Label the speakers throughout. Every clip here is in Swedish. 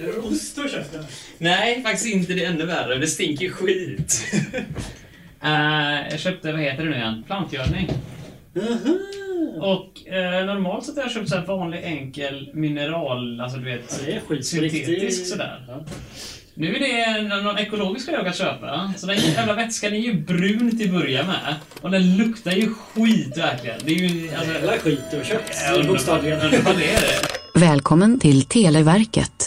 Speaker 1: Är det ost och käften?
Speaker 2: Nej, faktiskt inte. Det är ännu värre. Det stinker ju skit.
Speaker 3: Eh, jag köpte, vad heter det nu igen? Plantgödning.
Speaker 1: Aha.
Speaker 3: Och eh, normalt sett har jag köpt så här vanlig enkel mineral, alltså du vet,
Speaker 1: Det är skit på
Speaker 3: syntetisk
Speaker 1: riktigt.
Speaker 3: sådär.
Speaker 1: Ja.
Speaker 3: Nu är det någon, någon ekologisk jag att köpa. Så den jävla vätskan är ju brun till att börja med. Och den luktar ju skit verkligen. Det är ju... Alltså,
Speaker 1: Jävla skit du har köpt.
Speaker 3: jag undrar-
Speaker 1: Bokstavligen.
Speaker 3: undrar vad det är det.
Speaker 4: Välkommen till Televerket.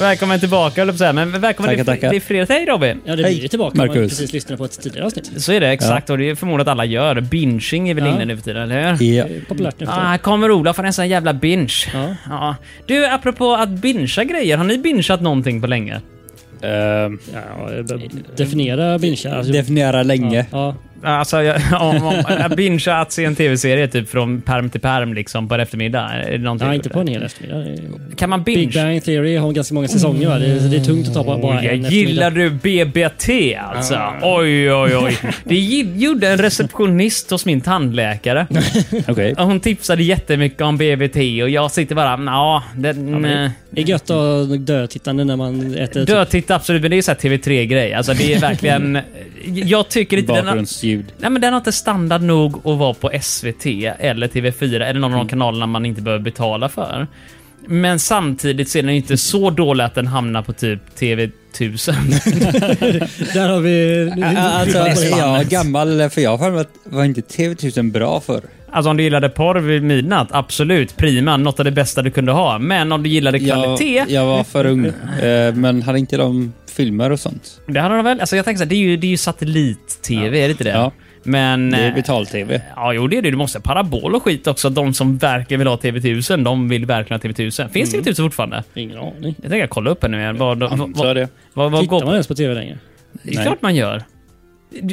Speaker 3: Välkommen tillbaka, eller säga. Men välkommen
Speaker 5: Tackar, det är fr- tackar. det är
Speaker 3: fredag. Hej Robin!
Speaker 1: Ja, det
Speaker 5: Hej,
Speaker 1: blir ju tillbaka om man
Speaker 5: Marcus.
Speaker 1: precis lyssnade på ett tidigare avsnitt.
Speaker 3: Så är det exakt och det är förmodat alla gör. Binging är väl
Speaker 1: Ja.
Speaker 3: inne nu för tiden, eller hur?
Speaker 5: Ja.
Speaker 1: Det är Populärt nu för
Speaker 3: Ah,
Speaker 1: tiden.
Speaker 3: här kommer Ola för en sån jävla binge.
Speaker 1: Ja.
Speaker 3: Ja. Du, apropå att bingea grejer. Har ni bingeat någonting på länge?
Speaker 5: Ehm,
Speaker 1: Ja, definiera binge. Alltså,
Speaker 5: definiera länge.
Speaker 1: ja.
Speaker 3: Alltså, jag, om, om, jag bingear att se en tv-serie typ från perm till perm liksom på en eftermiddag. Är det någonting?
Speaker 1: Nej, inte på en hel eftermiddag. Det är-
Speaker 3: Kan man
Speaker 1: Big
Speaker 3: binge?
Speaker 1: Bang Theory har ganska många säsonger va? Det är, det är tungt att ta bara, bara
Speaker 3: Oj, Oh, jag
Speaker 1: en
Speaker 3: gillar
Speaker 1: eftermiddag.
Speaker 3: du BBT alltså? Oj, oj, oj. Det gi- gjorde en receptionist hos min tandläkare.
Speaker 5: Okej.
Speaker 3: Hon tipsade jättemycket om BBT och jag sitter bara, ja, den... eh,
Speaker 1: Det är gött att dö tittande när man äter... typ-
Speaker 3: Dödtitt absolut, men det är ju så här TV3-grej. Alltså det är verkligen... jag tycker inte den har,
Speaker 5: Bakgrundsljud.
Speaker 3: Nej men den har inte standard nog att vara på SVT eller TV4 eller någon av de kanalerna man inte behöver betala för. Men samtidigt så är den inte så dålig att den hamnar på typ TV1000.
Speaker 1: Där har vi...
Speaker 5: Alltså, är jag gammal eller? För jag har för mig att var inte TV1000 bra för?
Speaker 3: Alltså om du gillade porr vid midnatt, absolut, prima, något av det bästa du kunde ha. Men om du gillade kvalitet,
Speaker 5: Jag, jag var för ung. eh, men hade inte de filmer och sånt?
Speaker 3: det hade de väl? Alltså jag tänker så här, det är ju, det är ju satellit-TV, är det inte det?
Speaker 5: Ja.
Speaker 3: Men...
Speaker 5: Det är
Speaker 3: eh,
Speaker 5: betal-TV.
Speaker 3: Ja, jo det är det. Du måste ha parabol och skit också. De som verkligen vill ha TV1000, de vill verkligen ha TV1000. Finns
Speaker 5: Mm.
Speaker 3: TV1000 fortfarande?
Speaker 1: Ingen aning.
Speaker 3: Jag tänker kolla upp henne igen. Vad, vad,
Speaker 5: Antar
Speaker 3: vad,
Speaker 5: det.
Speaker 3: vad, vad
Speaker 1: Tittar
Speaker 3: går...
Speaker 1: man ens på TV längre?
Speaker 3: Det är klart man gör.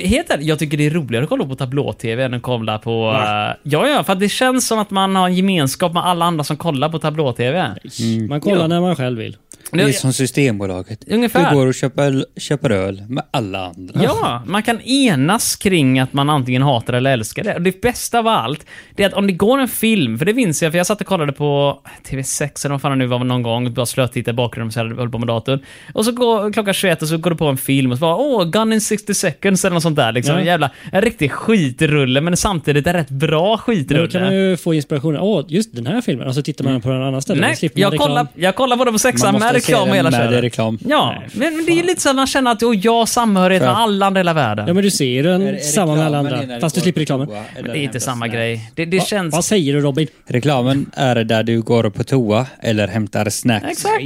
Speaker 3: Helt ärligt, jag tycker det är roligare att kolla på tablå-tv än att kolla på... eh, ja, ja, för att det känns som att man har en gemenskap med alla andra som kollar på tablå-tv.
Speaker 5: Mm.
Speaker 1: Man kollar
Speaker 3: Ja.
Speaker 1: när man själv vill.
Speaker 5: Det är
Speaker 3: Jag-
Speaker 5: som Systembolaget.
Speaker 3: Ungefär.
Speaker 5: Det går att köpa, öl- köpa öl med alla andra.
Speaker 3: Ja, man kan enas kring att man antingen hatar eller älskar det. Och det bästa av allt, det är att om det går en film, för det minns jag, för jag satt och kollade på TV6 eller vad fan det nu var någon gång, bara slötittade i bakgrunden så jag höll på med datorn. Och så går klockan 21 och så går det på en film och så bara åh, Gun in 60 seconds eller något sånt där liksom.
Speaker 1: Ja.
Speaker 3: Jävla, en riktig skitrulle, men samtidigt en rätt bra
Speaker 1: Men
Speaker 3: skitrulle.
Speaker 1: Då kan man ju få inspirationen. Åh, just den här filmen. Och så tittar
Speaker 5: Mm.
Speaker 1: man på en annan ställe. Då
Speaker 3: Nej,
Speaker 1: slipper man
Speaker 3: jag
Speaker 1: reklam.
Speaker 3: kollar, jag kollar på dem på
Speaker 5: Man
Speaker 3: sexan
Speaker 5: måste
Speaker 3: med
Speaker 5: se
Speaker 3: reklam och
Speaker 5: den
Speaker 3: hela
Speaker 5: med
Speaker 3: köret.
Speaker 5: reklam.
Speaker 3: Ja, men, men det är ju lite så att man känner att "Åh, jag har samhörighet med
Speaker 5: Ja.
Speaker 3: alla andra i hela världen.
Speaker 1: Ja, men du ser
Speaker 5: Är-
Speaker 3: Mm,
Speaker 1: den
Speaker 5: är
Speaker 1: samma med alla
Speaker 5: reklamen innan
Speaker 1: andra.
Speaker 5: du
Speaker 1: Fast du
Speaker 5: går
Speaker 1: slipper
Speaker 5: på
Speaker 1: reklamen.
Speaker 5: toa, eller
Speaker 3: Det är inte
Speaker 5: hämtas-
Speaker 3: samma
Speaker 5: Nej.
Speaker 3: grej. Det, det
Speaker 1: Va-
Speaker 3: känns...
Speaker 1: Vad säger du Robin?
Speaker 5: Reklamen är där du går på toa eller hämtar snacks.
Speaker 3: Exakt.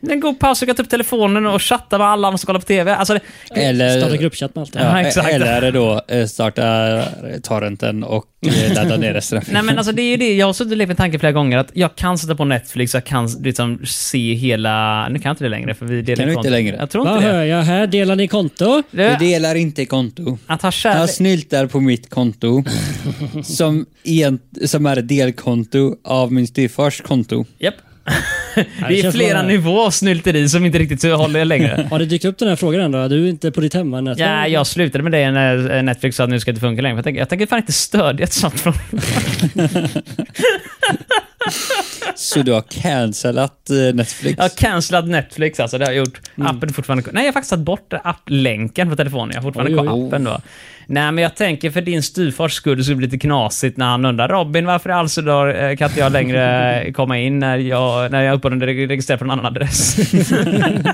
Speaker 3: Den går och pausar, och tar upp telefonen och chattar med alla andra som kollar på TV. Alltså, det,
Speaker 5: Eller,
Speaker 1: Starta gruppchatt med allt det här.
Speaker 5: Ja, e-
Speaker 3: Ja, exakt.
Speaker 5: Eller då eh, starta torrenten och eh, ladda ner resten av
Speaker 3: nej men alltså det är ju det, jag har suttit och levt med tanken flera gånger att jag kan sätta på Netflix, jag kan liksom se hela... Nu kan jag inte det längre för vi delar
Speaker 5: Kan du inte
Speaker 3: konto.
Speaker 5: längre?
Speaker 3: Jag tror
Speaker 1: Vad
Speaker 3: inte
Speaker 1: hör
Speaker 3: det.
Speaker 1: jag här? Delar ni konto?
Speaker 5: Du
Speaker 3: det
Speaker 5: delar inte konto.
Speaker 3: att ha
Speaker 5: Han
Speaker 3: kärlek...
Speaker 5: snyltar på mitt konto som, en, som är delkonto av min styvfars konto.
Speaker 3: Japp.
Speaker 1: det
Speaker 3: det är
Speaker 1: känns
Speaker 3: flera
Speaker 1: bara-
Speaker 3: nivåer av snylteri som inte riktigt så håller längre.
Speaker 1: Har det dykt upp den här frågan än då? Du är inte på ditt hemmanät?
Speaker 3: Ja, jag slutade med det när eh, Netflix sa att nu ska det inte funka längre. För jag tänker, jag tänker fan inte stödja ett sånt från...
Speaker 5: Så du har cancellat eh, Netflix.
Speaker 3: Jag har cancelat Netflix alltså, det har jag gjort.
Speaker 1: Mm.
Speaker 3: Appen är fortfarande Nej, jag har faktiskt tagit bort applänken på telefonen. Jag har fortfarande
Speaker 1: Oj, oj,
Speaker 3: kvar
Speaker 5: oj.
Speaker 3: appen då. Nej, men jag tänker för din styvfars skull så blir det lite knasigt när han undrar Robin, varför alls då eh, kan inte jag längre komma in när jag, när jag uppehåller registrerar från en annan adress?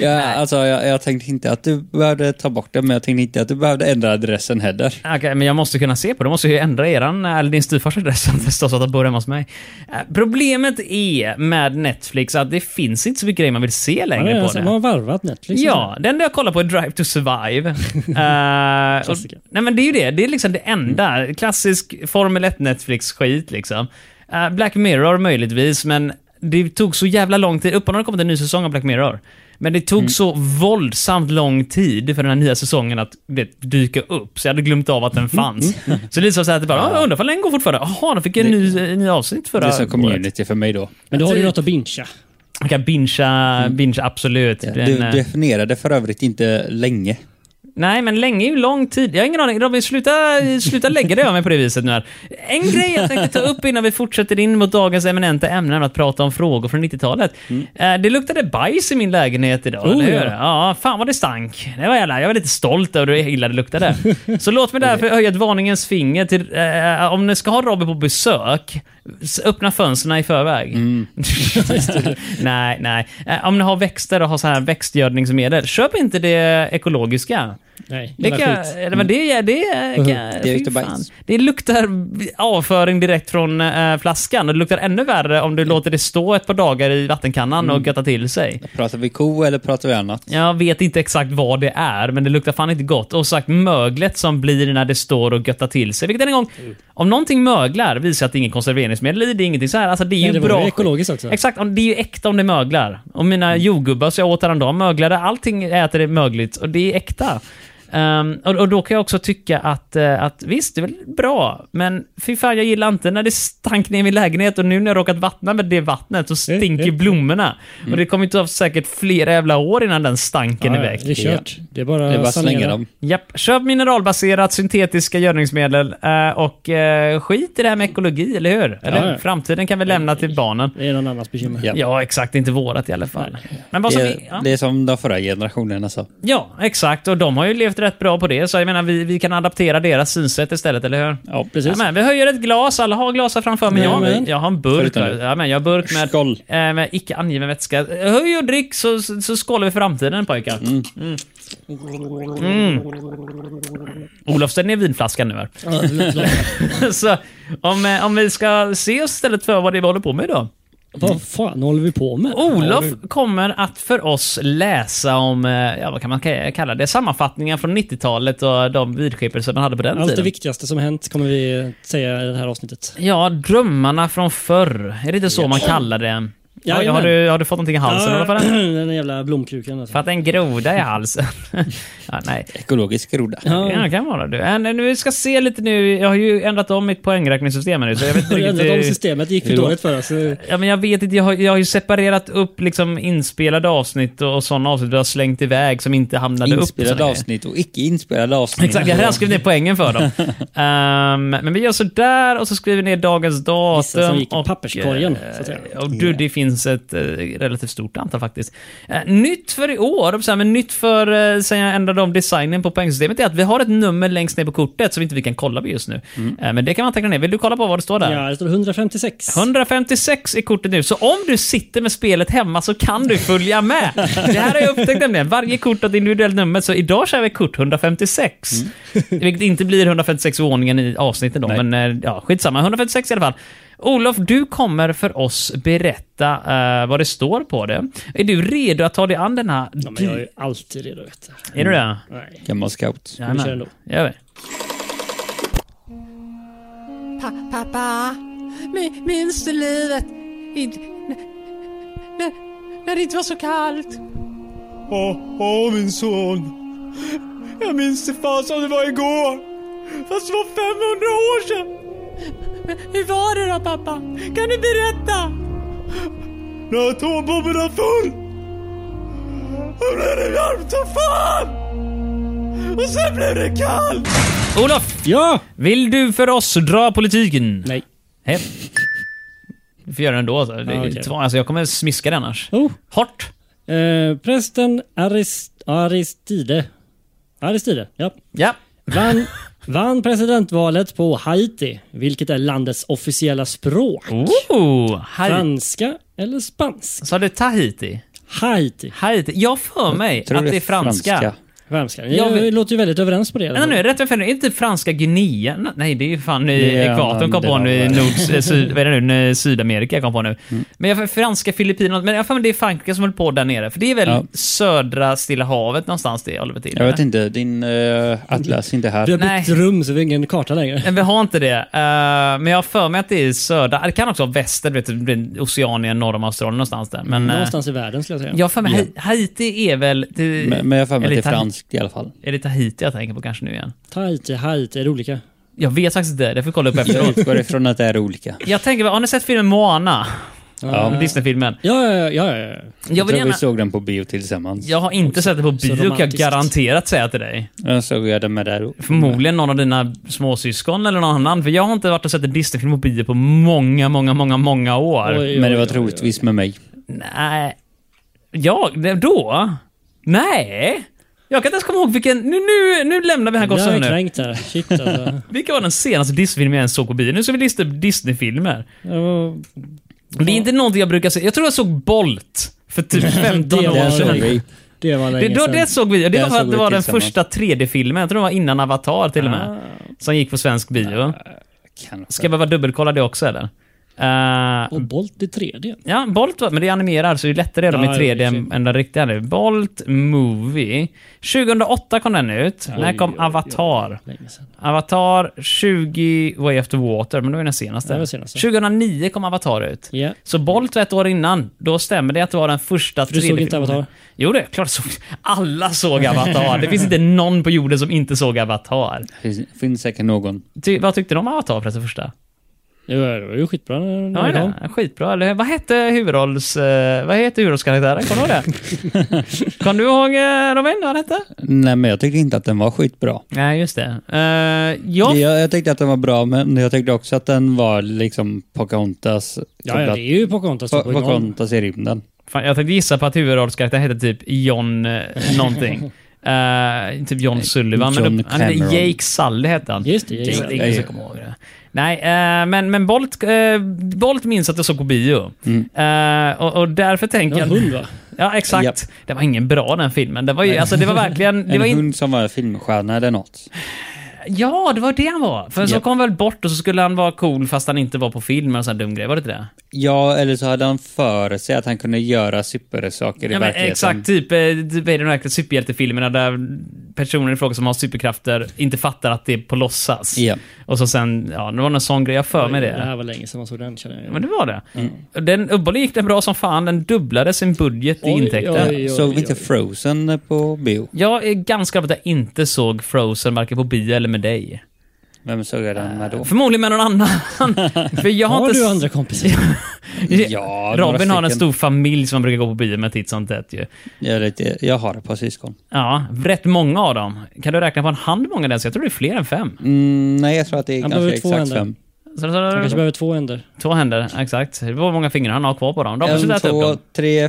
Speaker 5: Ja, alltså, jag, jag tänkte inte att du behövde ta bort det, men jag tänkte inte att du behövde ändra adressen heller.
Speaker 3: Okej, men jag måste kunna se på det. Då måste jag ju ändra eran, eller din styvfars adress om det står så att de bor hemma hos mig. Eh, Problemet är med Netflix att det finns inte så mycket grejer man vill se
Speaker 1: Ja, det
Speaker 3: längre
Speaker 1: är
Speaker 3: på
Speaker 1: alltså,
Speaker 3: det.
Speaker 1: man har varvat liksom. Netflix.
Speaker 3: Ja, den där jag kollar på är Drive to Survive. Eh, och,
Speaker 1: Klassiker.
Speaker 3: nej men det är ju det, det är liksom det enda. Klassisk Formel 1 Netflix-skit liksom. Eh, Black Mirror möjligtvis, men det tog så jävla lång tid. Uppenbarligen har det kommit en ny säsong av Black Mirror. Men det
Speaker 5: Mm.
Speaker 3: tog så våldsamt lång tid för den här nya säsongen att det dyka upp, så jag hade glömt av att den fanns. Så det är så här att det bara, "Ah, undrar om den går fortfarande. Jaha, de fick en ny, en ny avsnitt
Speaker 5: Det
Speaker 3: förra
Speaker 5: är som community för mig då.
Speaker 1: Men då har du ju något att bincha.
Speaker 3: Man kan bingea,
Speaker 5: Mm.
Speaker 3: bingea absolut. Den,
Speaker 5: Du
Speaker 3: eh,
Speaker 5: definierade för övrigt inte länge.
Speaker 3: Nej, men länge är ju lång tid. Jag har ingen aning. Robin, sluta, sluta lägga det över mig på det viset nu här. En grej jag tänkte ta upp innan vi fortsätter in mot dagens eminenta ämnen, att prata om frågor från 90-talet. Eh, Det luktade bajs i min lägenhet idag,
Speaker 1: Oh,
Speaker 3: eller hur?
Speaker 1: ja.
Speaker 3: Ja, fan vad det stank. Det var jävla, jag var lite stolt över hur illa det luktade. Så låt mig därför höja ett varningens finger till, eh, om ni ska ha Robin på besök, s- öppna fönstren i förväg. nej, nej. Eh, Om ni har växter och har så här växtgödningsmedel, köp inte det ekologiska.
Speaker 1: Nej,
Speaker 3: Det,
Speaker 1: det
Speaker 3: kan,
Speaker 1: skit. Mm-hmm.
Speaker 3: eller vad det, är- det, är- kan,
Speaker 5: Det
Speaker 3: fy
Speaker 5: luktar bajs.
Speaker 3: fan. det luktar avföring direkt från eh, flaskan. Och det luktar ännu värre om
Speaker 1: Mm.
Speaker 3: du låter det stå ett par dagar i vattenkannan och götta till sig.
Speaker 5: Pratar vi ko eller pratar vi annat?
Speaker 3: Jag vet inte exakt vad det är, men det luktar fan inte gott. Och sagt möglet som blir när det står och göttar till sig. Vilket än en gång,
Speaker 1: Mm.
Speaker 3: om någonting möglar visar att det är inget konserveringsmedel i, det är ingenting så här. Alltså det är ju
Speaker 1: Nej, det var
Speaker 3: bra.
Speaker 1: ju ekologiskt också.
Speaker 3: Exakt, om- det är ju äkta om det möglar. Och mina
Speaker 1: Mm.
Speaker 3: jordgubbar så jag åt häromdagen möglade. Allting jag äter är mögligt och det är äkta. Ehm, och, och då kan jag också tycka att, eh, att visst, det är väl bra, men fy fan jag gillar inte när det stank ner i min lägenhet och nu när jag råkat vattna med det vattnet så stinker blommorna. Och det kommer ju ta säkert flera jävla år innan den stanken
Speaker 1: Mm. Ja,
Speaker 3: är
Speaker 1: ja,
Speaker 3: väck.
Speaker 1: Det är kört. Det är bara,
Speaker 5: Det är bara att
Speaker 1: sanera.
Speaker 5: slänga dem.
Speaker 3: Japp. Köp mineralbaserat syntetiska gödningsmedel eh, och eh, skit i det här med ekologi, eller hur? Eller,
Speaker 1: Ja, ja.
Speaker 3: Framtiden kan vi lämna till barnen.
Speaker 1: Det är någon annans bekymmer.
Speaker 5: Ja.
Speaker 3: Ja, exakt. Inte vårat i alla fall. Men vad som
Speaker 5: Det
Speaker 3: är,
Speaker 5: är,
Speaker 3: ja.
Speaker 5: det är som de förra generationerna sa.
Speaker 3: ja, exakt. Och de har ju levt rätt bra på det, så jag menar, vi, vi kan adaptera deras synsätt istället, eller hur?
Speaker 1: Ja, precis.
Speaker 3: Ja, men, vi höjer ett glas, alla har glasar framför mig. Jag,
Speaker 1: Jajamän.
Speaker 3: jag har en burk.
Speaker 5: Förutom
Speaker 3: va?
Speaker 5: du.
Speaker 3: Ja, men, jag har burk med,
Speaker 5: Skål.
Speaker 3: eh, med icke angiven vätska. Höj och drick så, så, så skålar vi för framtiden pojkar. Mm. Olof, ställ ner vinflaskan nu här.
Speaker 1: Ja, låt- låt-
Speaker 3: så, om, eh, om vi ska se oss istället för vad det är vi håller på med idag.
Speaker 1: Vad fan håller vi på med?
Speaker 3: Olof kommer att för oss läsa om, eh, ja vad kan man ka- kalla det, sammanfattningar från 90-talet och de vidskepelser man hade på den
Speaker 1: Allt det
Speaker 3: tiden.
Speaker 1: viktigaste som hänt kommer vi säga i det här avsnittet.
Speaker 3: Ja, drömmarna från förr. Är det inte så man kallar det? Ja,
Speaker 1: Jajamän.
Speaker 3: har, du, har du fått någonting i halsen? Ja. För,
Speaker 1: den där jävla blomkrukan alltså.
Speaker 3: för att en groda i halsen? ja, nej.
Speaker 5: Ekologisk groda.
Speaker 3: Ja, det kan vara du. Äh, nej, nu ska se lite nu. Jag har ju ändrat om mitt poängräkningssystem här nu, så jag vet inte
Speaker 1: Det
Speaker 3: riktigt...
Speaker 1: enda
Speaker 3: hur-
Speaker 1: de systemet gick för
Speaker 5: Jo.
Speaker 1: dåligt för oss. så-
Speaker 3: Ja, men jag vet inte, jag har, jag har ju separerat upp liksom inspelade avsnitt och, och sådana avsnitt vi har slängt iväg som inte hamnade upp.
Speaker 5: Inspelade
Speaker 3: Sådana
Speaker 5: avsnitt och icke inspelade avsnitt.
Speaker 3: Exakt, jag har redan skrivit ner poängen för dem. Ehm, men vi gör sådär och så skriver vi ner dagens datum.
Speaker 1: Vissa som gick i
Speaker 3: och,
Speaker 1: papperskorgen,
Speaker 3: eh,
Speaker 1: så att säga.
Speaker 3: och du, det finns ett eh, relativt stort antal faktiskt. Eh, nytt för i år, så här, men nytt för uh, sen jag ändrade om designen på poängsystemet, är att vi har ett nummer längst ner på kortet som inte vi kan kolla på just nu. Eh, men det kan man teckna ner. Vill du kolla på vad det står där?
Speaker 1: Mm. Ja, det står 156.
Speaker 3: 156 i kortet nu, så om du sitter med spelet hemma så kan du följa med. Det här har jag upptäckt nämligen. Varje kort har ett individuellt nummer, så idag kör vi kort 156.
Speaker 1: Mm.
Speaker 3: Vilket inte blir 156 i ordningen i avsnitten då,
Speaker 5: Nej.
Speaker 3: men eh, ja, skitsamma. 156 i alla fall. Olof, du kommer för oss berätta eh, vad det står på det. Är du redo att ta dig an den här?
Speaker 1: Ja, men jag är ju alltid redo vet du.
Speaker 3: Är du det?
Speaker 1: Nej.
Speaker 5: Gammal scout.
Speaker 1: vi kör ändå.
Speaker 3: Gör vi.
Speaker 6: Pa, pappa, mi- minns du livet? Inte, när, när det inte var så kallt?
Speaker 7: Åh, åh min son. Jag minns det fan som det var igår. Fast det var 500 år sedan.
Speaker 6: Men hur var det då pappa? Kan du berätta?
Speaker 7: När atombomben var full. Då blev det varmt som fan. Och sen blev det kallt.
Speaker 3: Olof,
Speaker 1: Ja!
Speaker 3: vill du för oss dra politiken?
Speaker 1: Nej.
Speaker 3: Hej. Du får göra den ändå. Så. Det,
Speaker 1: okej.
Speaker 3: det var- alltså, jag kommer smiska den annars.
Speaker 1: Oh.
Speaker 3: Hårt.
Speaker 1: Eh, prästen Arist Aristide. Aristide, ja.
Speaker 3: Ja.
Speaker 1: Vann, vann presidentvalet på Haiti, vilket är landets officiella språk.
Speaker 3: Oh, Haiti.
Speaker 1: Franska eller spanska?
Speaker 3: Sa du Tahiti?
Speaker 1: Haiti.
Speaker 3: Haiti. Jag har för mig
Speaker 5: tror
Speaker 3: att
Speaker 5: det är
Speaker 3: det är franska.
Speaker 5: franska.
Speaker 1: Värmska.
Speaker 3: Jag
Speaker 1: Ni
Speaker 3: vet-
Speaker 1: låter ju väldigt överens på det.
Speaker 3: Vänta nu, rätt för är inte franska Guinea? Nej, det är ju fan i
Speaker 5: Det är
Speaker 3: ekvatorn kom på
Speaker 5: andra.
Speaker 3: nu i nord, eh, syd, vad är det nu, Eh, Sydamerika kom på nu.
Speaker 5: Mm.
Speaker 3: Men jag franska Filippinerna, men jag fan det är Frankrike som höll på där nere. För det är väl
Speaker 5: Ja.
Speaker 3: södra Stilla havet någonstans det håller på till?
Speaker 5: Jag vet inte, din eh, atlas är inte
Speaker 1: Vi har
Speaker 5: här.
Speaker 1: bytt
Speaker 3: Nej.
Speaker 1: rum så vi har ingen karta längre.
Speaker 3: Nej, Vi har inte det. Eh, men jag har för mig att det är södra, det kan också vara väster, du vet, det blir Oceanien norr om Australien någonstans där.
Speaker 5: Mm,
Speaker 3: Men, eh,
Speaker 1: Någonstans i världen skulle jag säga.
Speaker 3: Jag har för mig, Ha- Haiti är väl... Det,
Speaker 5: Men, men jag har för mig
Speaker 3: eller
Speaker 5: att det är
Speaker 3: Tahi-
Speaker 5: franskt i alla fall.
Speaker 3: Är det Tahiti jag tänker på kanske nu igen?
Speaker 1: Tahiti, Haiti, är det olika?
Speaker 3: Jag vet faktiskt inte, det får jag kolla upp
Speaker 5: Jag
Speaker 3: efteråt.
Speaker 5: utgår ifrån att det är olika.
Speaker 3: jag tänker, har ni sett filmen Moana? Mm.
Speaker 5: Ja.
Speaker 3: Disney-filmen.
Speaker 1: Ja, ja, ja. ja, ja.
Speaker 3: Jag
Speaker 5: Jag
Speaker 3: vill
Speaker 5: tror vi
Speaker 3: gärna...
Speaker 5: såg den på bio tillsammans.
Speaker 3: Jag har inte sett det på bio kan jag
Speaker 1: romantiskt.
Speaker 3: garanterat säga till dig.
Speaker 5: Den såg jag den med där.
Speaker 3: Förmodligen någon av dina småsyskon eller någon annan. För jag har inte varit och sett en Disney-film på bio på många, många, många, många år.
Speaker 1: Oj,
Speaker 5: Men det
Speaker 1: oj,
Speaker 5: var
Speaker 1: oj,
Speaker 5: troligtvis med mig.
Speaker 3: Nej. Ja, det- då? Nej. Jag kan inte ens komma ihåg vilken... Nu, nu, nu lämnar vi här
Speaker 1: oj. Jag
Speaker 3: gossen
Speaker 1: är
Speaker 3: nu.
Speaker 1: kränkt här. Shit alltså.
Speaker 3: Vilka var den senaste Disney-filmen jag ens såg på bio? Nu ska vi lista upp Disney-filmer.
Speaker 1: Det var-
Speaker 3: Det är inte någonting jag brukar se. Jag tror jag såg Bolt för typ 15
Speaker 1: Det
Speaker 3: år
Speaker 1: var-
Speaker 5: Den såg
Speaker 3: sedan.
Speaker 5: vi.
Speaker 1: Det var
Speaker 3: Det,
Speaker 1: länge
Speaker 3: då,
Speaker 1: sedan.
Speaker 3: det såg vi. och Det var
Speaker 5: Den
Speaker 3: för
Speaker 5: såg
Speaker 3: att
Speaker 5: vi
Speaker 3: det var den
Speaker 5: tillsammans.
Speaker 3: första 3D-filmen, jag tror det var innan Avatar till och med,
Speaker 1: Ah.
Speaker 3: som gick på svensk bio. Ska jag behöva dubbelkolla det också eller? Eh,
Speaker 1: Och Bolt i 3D.
Speaker 3: ja, Bolt var, men det är animerad så det är lättare att göra dem
Speaker 1: Ja,
Speaker 3: i 3D än,
Speaker 1: precis.
Speaker 3: än den riktiga nu. Bolt Movie. 2008 kom den ut. När kom
Speaker 1: Oj, oj, oj.
Speaker 3: Avatar?
Speaker 1: Länge sedan.
Speaker 3: Avatar 20 Way After Water, men det var den senaste.
Speaker 1: Det var den senaste.
Speaker 3: 2009 kom Avatar ut.
Speaker 1: Ja.
Speaker 3: Så Bolt var ett år innan. Då stämmer det att det var den första
Speaker 1: du såg
Speaker 3: 3D-filmen.
Speaker 1: inte Avatar?
Speaker 3: Jo, det är klart jag såg. Alla såg Avatar. Det finns inte någon på jorden som inte såg Avatar.
Speaker 5: Finns, finns säkert någon.
Speaker 3: Ty, vad tyckte du om Avatar förresten första?
Speaker 1: Det var det var ju skitbra när
Speaker 3: Ja,
Speaker 1: när den
Speaker 3: ja,
Speaker 1: kom.
Speaker 3: skitbra. Eller, vad hette huvudrolls... Eh, vad heter huvudrollskaraktären? Kommer du ihåg det? Kom du ihåg eh, Robin, vad han hette?
Speaker 5: Nej, men jag tyckte inte att den var skitbra.
Speaker 3: Nej, just det. Eh, ja,
Speaker 5: Jag, jag tyckte att den var bra, men jag tyckte också att den var liksom Pocahontas.
Speaker 1: Ja, ja,
Speaker 5: kopplat-
Speaker 1: det är ju Pocahontas.
Speaker 5: Po-
Speaker 1: typ, och någon-
Speaker 5: Pocahontas i rymden.
Speaker 3: fan, jag tänkte gissa på att huvudrollskaraktären hette typ John eh, någonting. Eh, typ John Sullivan. men
Speaker 5: John
Speaker 3: då, han hette
Speaker 5: Cameron.
Speaker 3: Jake Sully hette han.
Speaker 1: Just det,
Speaker 3: Det
Speaker 1: just
Speaker 3: är
Speaker 1: det.
Speaker 3: ingen som kommer ihåg det. Nej, eh, men, men Bolt, eh, Bolt minns att jag såg på bio.
Speaker 5: Mm.
Speaker 3: Eh, och, och därför tänker
Speaker 1: Det var
Speaker 3: jag...
Speaker 1: en hund va?
Speaker 3: Ja, exakt.
Speaker 5: Japp.
Speaker 3: Det var ingen bra den filmen. Det var ju, alltså det var verkligen... Det
Speaker 5: En
Speaker 3: var in,
Speaker 5: hund som var filmstjärna eller något.
Speaker 3: ja, det var det han var. För så
Speaker 5: Japp.
Speaker 3: kom han väl bort och så skulle han vara cool fast han inte var på film och sån dum grej. Var det inte det?
Speaker 5: Ja, eller så hade han för sig att han kunde göra supersaker i
Speaker 3: Ja, men
Speaker 5: verkligheten.
Speaker 3: exakt, typ, eh, typ är det de här superhjältefilmerna där personer i fråga som har superkrafter inte fattar att det är på låtsas.
Speaker 5: Ja.
Speaker 3: Och så sen, ja, det var någon sån grej. Jag har för mig det.
Speaker 1: Det här var länge sedan man såg den känner jag.
Speaker 3: Men det var det.
Speaker 5: Mm.
Speaker 3: Den Uppehållet gick den bra som fan. Den dubblade sin budget i
Speaker 1: Oj,
Speaker 3: intäkter.
Speaker 1: oj, oj.
Speaker 5: Såg vi inte Frozen på bio?
Speaker 3: Jag är ganska glad att jag inte såg Frozen varken på bio eller med dig.
Speaker 5: Vem såg jag den med då?
Speaker 3: Förmodligen med någon annan. För jag har,
Speaker 1: Har
Speaker 3: inte...
Speaker 1: du
Speaker 3: s-
Speaker 1: andra kompisar?
Speaker 5: Ja, några
Speaker 3: Robin har en stor
Speaker 5: stycken.
Speaker 3: familj som man brukar gå på bio med titt som tätt ju.
Speaker 5: Jag, är lite, jag har ett par syskon.
Speaker 3: Ja, rätt många av dem. Kan du räkna på en hand hur många det är? Så Jag tror det är fler än fem.
Speaker 5: Mm, nej, jag tror att det är
Speaker 1: Han
Speaker 5: kanske
Speaker 1: behöver två
Speaker 5: exakt
Speaker 1: händer.
Speaker 5: fem.
Speaker 3: Så,
Speaker 1: Han
Speaker 3: så,
Speaker 1: kanske behöver två händer.
Speaker 3: två händer, exakt. Det var många fingrar han har kvar på dem. Robin
Speaker 5: En,
Speaker 3: har upp
Speaker 5: två,
Speaker 3: dem.
Speaker 5: tre,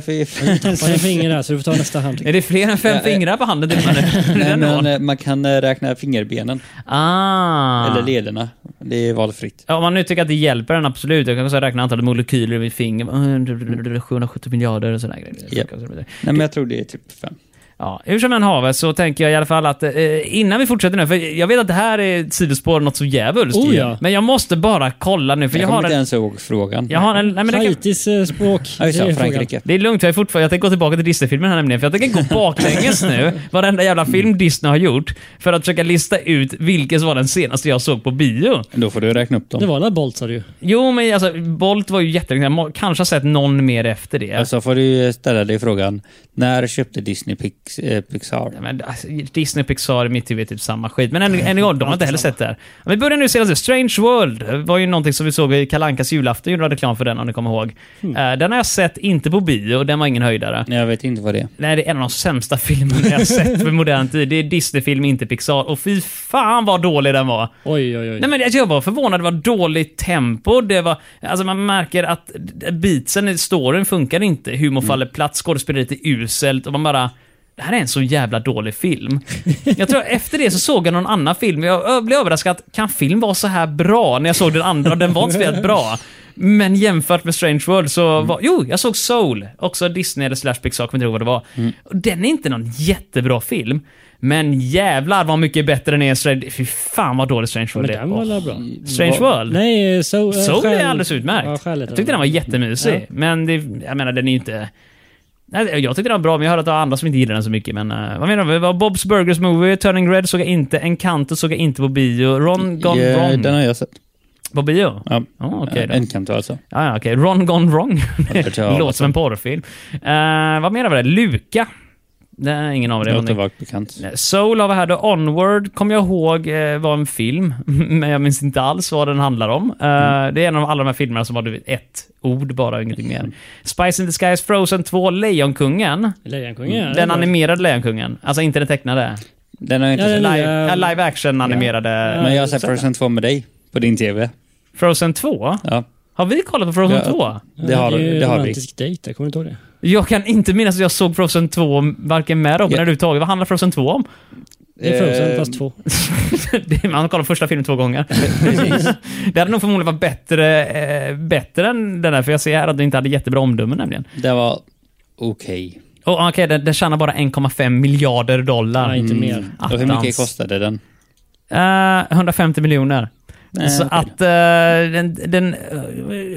Speaker 5: fyra.
Speaker 1: Har en finger där så du får ta nästa hand.
Speaker 3: Är det fler än fem
Speaker 5: Ja, eh,
Speaker 3: fingrar på handen? till och
Speaker 5: Nej,
Speaker 3: med?
Speaker 5: men eh, man kan eh, räkna fingerbenen.
Speaker 3: ah.
Speaker 5: Eller lederna. Det är valfritt.
Speaker 3: Ja, Om man nu tycker att det hjälper en, absolut. Jag kan också räkna antalet molekyler i finger. 770 miljarder och sådana grejer.
Speaker 5: Japp. Nej, men jag tror det är typ fem.
Speaker 3: Ja, hur som än haver så tänker jag i alla fall att eh, innan vi fortsätter nu, för jag vet att det här är ett sidospår något så djävulskt
Speaker 1: Oh,
Speaker 3: ju.
Speaker 1: ja.
Speaker 3: Men jag måste bara kolla nu, för
Speaker 5: Jag,
Speaker 3: jag,
Speaker 5: kommer
Speaker 3: har
Speaker 5: inte
Speaker 3: en...
Speaker 5: ens ihåg frågan.
Speaker 3: Jag har en... Nej, men det, kan,
Speaker 1: Haitis eh, språk.
Speaker 5: Ja, just
Speaker 1: det är
Speaker 5: det,
Speaker 1: frågan.
Speaker 5: Frankrike.
Speaker 3: det är lugnt, jag, är fortfarande, jag tänker gå tillbaka till Disney-filmen här nämligen, för jag tänker gå baklänges nu, varenda jävla
Speaker 5: Mm.
Speaker 3: film Disney har gjort, för att försöka lista ut vilken som var den senaste jag såg på bio.
Speaker 5: Då får du räkna upp dem.
Speaker 1: Det var väl Bolt sa du ju.
Speaker 3: Jo, men alltså, Bolt var ju jättelänge, jag må- kanske har sett någon mer efter det.
Speaker 5: Alltså får du ställa dig frågan, när köpte Disney Pix, eh, Pixar?
Speaker 3: Ja, men, alltså, Disney och Pixar i mitt huvud är typ samma skit. Men än, än gång, de har inte heller sett det här. Men Vi börjar nu senast. Strange World eh, var ju någonting som vi såg i Kalankas julafton. Gjorde reklam för den om ni kommer ihåg. Eh, den har jag sett, inte på bio. Den var ingen höjdare.
Speaker 5: Nej, Jag vet inte vad det är.
Speaker 3: Nej, det är en av de sämsta filmerna jag sett för modern tid. Det är Disney-film, inte Pixar. Och fy fan vad dålig den var.
Speaker 1: Oj, oj,
Speaker 3: Nej,
Speaker 1: oj.
Speaker 3: men alltså, jag- jag var förvånad. Det var dåligt tempo. Det var, alltså man märker att beatsen i storyn funkar inte. Humor faller platt, skådespeleriet är uselt och man bara... Det här är en så jävla dålig film. Jag tror efter det så såg jag någon annan film. Jag ö- blev överraskad att kan film vara så här bra när jag såg den andra och den var inte speciellt bra. Men jämfört med Strange World så
Speaker 1: Mm.
Speaker 3: var... Jo, jag såg
Speaker 1: Mm.
Speaker 3: Soul. Också Disney eller slash Pixar, kommer inte ihåg vad det var. Och Den är inte någon jättebra film. Men jävlar vad mycket bättre den är. Strange. Fy fan vad dålig Strange
Speaker 1: Men
Speaker 3: World
Speaker 1: den var
Speaker 3: är.
Speaker 1: väl bra?
Speaker 3: Strange World?
Speaker 1: Nej, så... eh,
Speaker 3: Soul
Speaker 1: själ-
Speaker 3: är alldeles utmärkt.
Speaker 1: Ja, själ heter
Speaker 3: jag tyckte
Speaker 5: Mm.
Speaker 3: den var jättemysig.
Speaker 1: Ja.
Speaker 3: Men det, jag menar, den är ju inte... Nej, Jag tyckte den var bra, men jag hörde att det var andra som inte gillade den så mycket. Men eh, vad menar du? Det var Bob's Burgers Movie, Turning Red såg jag inte, Encanto såg jag inte på bio, Ron Gone
Speaker 5: Ja,
Speaker 3: Wrong
Speaker 5: Den har jag sett.
Speaker 3: på bio.
Speaker 5: Ja.
Speaker 3: Oh, okej då.
Speaker 5: Encanto alltså.
Speaker 3: Ja, ja, okej. Ron Gone Wrong.
Speaker 5: hört talas om.
Speaker 3: Låter som en porrfilm. Eh, vad menar vi? där? Luca? Det är ingen av det.
Speaker 5: Låter vagt bekant.
Speaker 3: Soul har vi här då. Onward kommer jag ihåg eh, var en film, men jag minns inte alls vad den handlar om. Eh,
Speaker 5: Mm.
Speaker 3: Det är en av alla de här filmerna som har du vet, ett ord bara, ingenting mer. Spice in the Skies, Frozen 2, Lejonkungen.
Speaker 1: Lejonkungen? ja, det
Speaker 3: Den
Speaker 1: var-
Speaker 3: animerade Lejonkungen. Alltså inte den tecknade.
Speaker 5: Den har jag inte
Speaker 1: Ja, den-
Speaker 5: sett.
Speaker 3: Live, äh, live action animerade.
Speaker 5: Men jag har sett Frozen 2 med dig. På din TV.
Speaker 3: Frozen 2?
Speaker 5: Ja.
Speaker 3: Har vi kollat på Frozen
Speaker 5: Ja.
Speaker 3: 2?
Speaker 5: Det har,
Speaker 1: är ju
Speaker 5: det har vi.
Speaker 1: romantisk dejt, jag kommer inte ihåg det.
Speaker 3: Jag kan inte minnas att jag såg Frozen 2, varken med Robin
Speaker 5: Ja.
Speaker 3: eller du Tage. Vad handlar Frozen 2 om?
Speaker 1: Det är Frozen
Speaker 5: Eh,
Speaker 1: fast två.
Speaker 3: Det- Man kollar första filmen två gånger. det hade nog förmodligen varit bättre, eh, bättre än den där, för jag ser här att den inte hade jättebra omdömen nämligen.
Speaker 5: Det var okej.
Speaker 3: Och okej, den, den tjänar bara 1,5 miljarder dollar.
Speaker 1: Nej, inte mer.
Speaker 5: Mm. Och hur
Speaker 3: Attans.
Speaker 5: mycket kostade den?
Speaker 3: Eh, 150 miljoner.
Speaker 5: Nej,
Speaker 3: så
Speaker 5: okej.
Speaker 3: att eh, den, den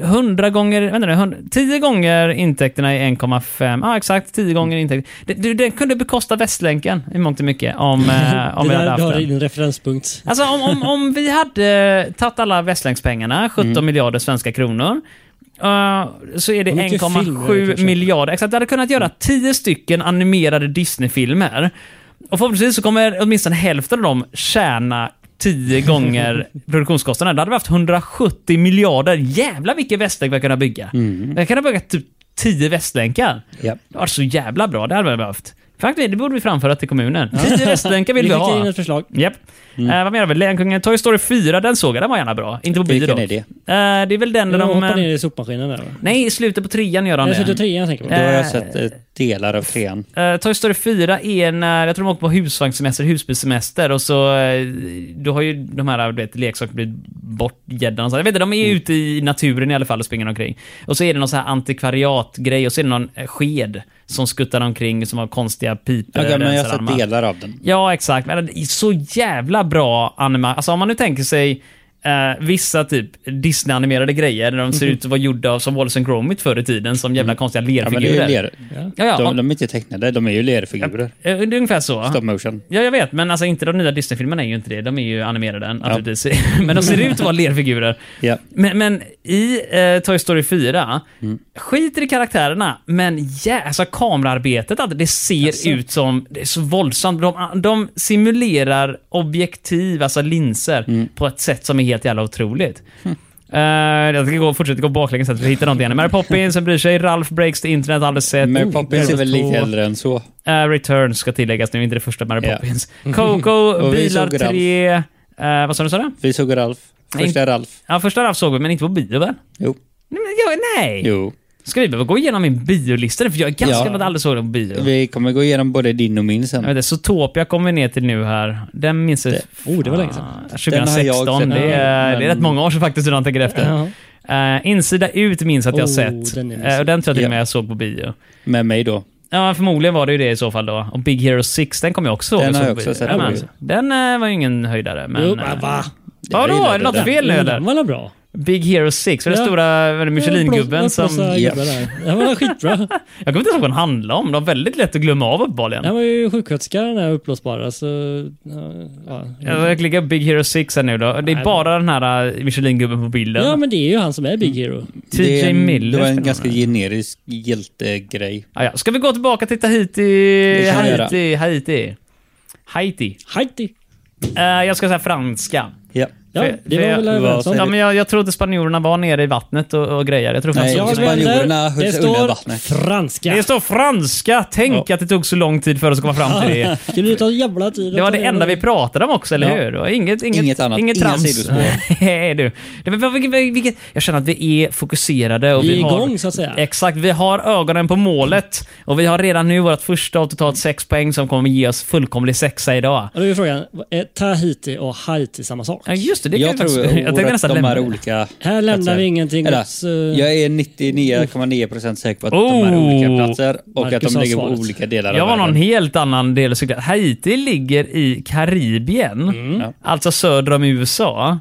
Speaker 3: eh, 100 gånger, vänta nu, 100, 10 gånger intäkterna är 1,5, ja ah, exakt 10 gånger intäkter. Den, du, den kunde bekosta Västlänken i mångt och mycket om, eh, om
Speaker 1: det
Speaker 3: vi
Speaker 1: där
Speaker 3: hade
Speaker 1: du
Speaker 3: haft
Speaker 1: har
Speaker 3: den.
Speaker 1: din referenspunkt.
Speaker 3: Alltså om, om, om vi hade tagit alla västlänkspengarna, 17 miljarder svenska kronor, eh, så är det
Speaker 1: Mm. Hur mycket filmer har vi
Speaker 3: 1,7
Speaker 1: kunnat köpa?
Speaker 3: miljarder. Exakt, vi hade kunnat
Speaker 1: Mm.
Speaker 3: göra 10 stycken animerade Disney-filmer. Och förhoppningsvis så kommer åtminstone hälften av dem tjäna 10 gånger produktionskostnaden. Då hade vi haft 170 miljarder. Jävlar vilken västlänk vi hade kunnat bygga.
Speaker 1: Mm.
Speaker 3: Vi hade kunnat bygga typ 10 västlänkar.
Speaker 5: Ja.
Speaker 3: Det var så jävla bra, det hade vi behövt. Faktiskt, det borde vi framföra till kommunen. 10 västlänkar vill vi ha.
Speaker 1: skickar in ett förslag.
Speaker 3: Japp.
Speaker 5: Mm.
Speaker 3: Eh, vad menar vi? Lejonkungen, Toy Story 4, den såg jag, den var gärna bra. Inte på bio
Speaker 5: Vilken
Speaker 3: dock.
Speaker 5: är det?
Speaker 3: Eh, det är väl den där
Speaker 1: De
Speaker 3: de...
Speaker 1: hoppar
Speaker 3: eh,
Speaker 1: ner i sopmaskinen där va?
Speaker 3: Nej, i slutet på trean gör han
Speaker 1: Jag sitter
Speaker 3: det.
Speaker 1: trean tänker
Speaker 5: Då
Speaker 1: jag
Speaker 5: har
Speaker 1: på.
Speaker 5: jag
Speaker 3: Eh,
Speaker 5: sett eh, delar av trean.
Speaker 3: Eh, Toy Story 4 är när, jag tror de åker på husvagnssemester, husbilssemester och så, eh, då har ju de här du vet, leksakerna blivit bortgädda någonstans. Jag vet inte, de är ju
Speaker 5: Mm.
Speaker 3: ute i naturen i alla fall och springer omkring. Och så är det någon sån här antikvariatgrej och så är det någon eh, sked som skuttar omkring som har konstiga pipor.
Speaker 5: Okej, men jag
Speaker 3: rensar
Speaker 5: har sett
Speaker 3: armar.
Speaker 5: delar av den.
Speaker 3: Ja, exakt. Men det är så jävla bra anima... Alltså om man nu tänker sig eh, vissa typ Disney-animerade grejer där de ser ut att vara gjorda av som Wallace and Gromit förr i tiden, som jävla konstiga
Speaker 5: Mhm. Mm. Ja, men det är
Speaker 3: lerfigurer.
Speaker 5: ju ler.
Speaker 3: Ja, ja,
Speaker 5: De,
Speaker 3: om,
Speaker 5: de är inte tecknade, de är ju lerfigurer.
Speaker 3: eh, det är ungefär så.
Speaker 5: Stop motion.
Speaker 3: Ja, jag vet, men alltså inte de nya Disney-filmerna är ju inte det. De är ju animerade, naturligtvis. men de ser ut att vara lerfigurer.
Speaker 5: Ja.
Speaker 3: Men, men i eh, Toy Story 4,
Speaker 5: Mm.
Speaker 3: skiter i karaktärerna, men yeah, alltså, kamerarbetet, alltså, det ser ut som... Det är så våldsamt. De, de simulerar objektiv, alltså linser,
Speaker 5: Mm.
Speaker 3: på ett sätt som är helt jävla otroligt.
Speaker 5: Hm.
Speaker 3: Eh, jag ska gå, fortsätta gå baklänges så att vi hittar någonting. igen. Mary Poppins, som bryr sig, Ralph Breaks the Internet, aldrig sett.
Speaker 5: Mary
Speaker 3: Oh,
Speaker 5: Poppins är väl
Speaker 3: Gargoyles
Speaker 5: lite
Speaker 3: 2.
Speaker 5: äldre än så.
Speaker 3: Eh, Returns ska tilläggas nu, inte det första Mary
Speaker 5: Ja.
Speaker 3: Poppins. Coco,
Speaker 5: Och vi
Speaker 3: Bilar
Speaker 5: såg Ralph.
Speaker 3: 3... eh, vad sa du? Sa du?
Speaker 5: Vi såg Ralf. Första Ralf.
Speaker 3: Ja, första Ralph såg vi, men inte på bio väl?
Speaker 5: Jo.
Speaker 3: Nej, men jag, nej!
Speaker 5: Jo.
Speaker 3: Ska vi behöva gå igenom min biolista? För jag är ganska
Speaker 5: Ja.
Speaker 3: glad att jag aldrig såg den på bio.
Speaker 5: Vi kommer gå igenom både din och min sen.
Speaker 3: Jag vet inte, Zootopia kommer vi ner till nu här. Den minns jag...
Speaker 1: oh, det var länge sedan.
Speaker 3: Fan,
Speaker 5: Den har jag
Speaker 3: 2016.
Speaker 5: sett,
Speaker 3: det, är,
Speaker 5: men-
Speaker 3: det är rätt många år sedan faktiskt, hur han tänker efter.
Speaker 1: Ja.
Speaker 3: Eh, insida ut minns att jag
Speaker 1: Oh,
Speaker 3: sett.
Speaker 1: den är mysig.
Speaker 3: Eh, och den tror jag till och
Speaker 5: Ja.
Speaker 3: med jag såg på bio.
Speaker 5: Med mig då.
Speaker 3: Ja, förmodligen var det ju det i så fall då. Och Big Hero 6, den kommer jag också ihåg.
Speaker 5: Den
Speaker 3: såg
Speaker 5: har jag
Speaker 3: på
Speaker 5: också
Speaker 3: bio.
Speaker 5: sett på
Speaker 3: Jajamän.
Speaker 5: bio.
Speaker 3: Den eh, var ju ingen höjdare. Men,
Speaker 1: Jo,
Speaker 3: eh,
Speaker 1: men va?
Speaker 5: Jag
Speaker 3: Vadå?
Speaker 5: gillade
Speaker 3: Är det något
Speaker 5: den.
Speaker 3: fel nu
Speaker 1: Jo, Den
Speaker 3: eller?
Speaker 1: var väl bra?
Speaker 3: Big Hero 6, var det
Speaker 1: Ja.
Speaker 3: stora var det
Speaker 1: Ja,
Speaker 3: Michelin-gubben
Speaker 1: plås- plåsa
Speaker 3: som...
Speaker 5: Ja.
Speaker 1: gubbar där. Den var skitbra.
Speaker 3: Jag kommer inte ihåg vad den handlade om. Det var väldigt lätt att glömma av uppenbarligen.
Speaker 1: Den var ju sjuksköterska den här uppblåsbara så... Ja, ja.
Speaker 3: Jag klickar Big Hero 6 här nu då. Det är
Speaker 1: Nej,
Speaker 3: bara den här eh, Michelin-gubben på bilden.
Speaker 1: ja men det är ju han som är Big
Speaker 3: Mm.
Speaker 1: Hero.
Speaker 5: Det,
Speaker 3: TJ
Speaker 5: är en-
Speaker 3: Miller
Speaker 5: det var en
Speaker 3: spelar
Speaker 5: ganska
Speaker 3: med.
Speaker 5: generisk hjältegrej.
Speaker 3: Ah, ja. Ska vi gå tillbaka till Tahiti?
Speaker 5: Det kan vi göra.
Speaker 3: Haiti, Haiti. Haiti.
Speaker 1: Haiti.
Speaker 3: Eh, jag ska säga franska.
Speaker 5: Ja.
Speaker 1: Ja,
Speaker 3: För-
Speaker 1: det
Speaker 3: för
Speaker 1: var
Speaker 3: jag-
Speaker 1: väl
Speaker 5: vad
Speaker 1: överens
Speaker 5: säger
Speaker 3: Ja,
Speaker 1: om.
Speaker 3: men jag, jag trodde spanjorerna var nere i vattnet och, och grejer. Jag tror
Speaker 5: Nej,
Speaker 3: fransoserna-
Speaker 1: Jag
Speaker 5: Spanjorerna
Speaker 1: vänder.
Speaker 5: höll
Speaker 1: Det
Speaker 5: sig undan
Speaker 1: står
Speaker 5: vattnet.
Speaker 1: franska.
Speaker 3: Det står franska! Tänk att det tog så lång tid för oss att komma fram till det.
Speaker 1: Skulle du ta jävla tid?
Speaker 3: Det var det enda vi pratade om också, eller
Speaker 5: Ja.
Speaker 3: hur? Det var Inget, inget,
Speaker 5: Inget annat.
Speaker 3: Inget
Speaker 5: Inga
Speaker 3: trams.
Speaker 5: sidospår.
Speaker 3: Nej, du. Det var, vilket, vilket, jag känner att vi är fokuserade. Och
Speaker 1: Vi
Speaker 3: vi
Speaker 1: är
Speaker 3: har,
Speaker 1: igång, så att säga.
Speaker 3: Exakt. Vi har ögonen på målet. Och vi har redan nu vårt första av totalt sex poäng som kommer ge oss fullkomlig sexa idag.
Speaker 1: Och då är ju frågan, är Tahiti och Haiti samma sak?
Speaker 3: Ja, just just det. det
Speaker 5: jag
Speaker 3: kan vi
Speaker 5: tror
Speaker 3: faktiskt- jag tänkte
Speaker 5: att
Speaker 3: nästan
Speaker 5: de
Speaker 3: lämna
Speaker 5: är
Speaker 3: det.
Speaker 5: olika
Speaker 1: Här lämnar
Speaker 5: platser.
Speaker 1: vi ingenting
Speaker 5: Eller,
Speaker 1: åt, eh,
Speaker 5: Jag är 99,9% säker på att de är
Speaker 3: Oh!
Speaker 5: olika platser och
Speaker 1: Marcus
Speaker 5: att de
Speaker 1: har
Speaker 5: ligger på
Speaker 1: svaret.
Speaker 5: olika delar
Speaker 3: Jag
Speaker 5: av
Speaker 3: var någon
Speaker 5: världen.
Speaker 3: helt annan del och cyklade. Haiti ligger i Karibien,
Speaker 5: Ja.
Speaker 3: alltså söder om USA.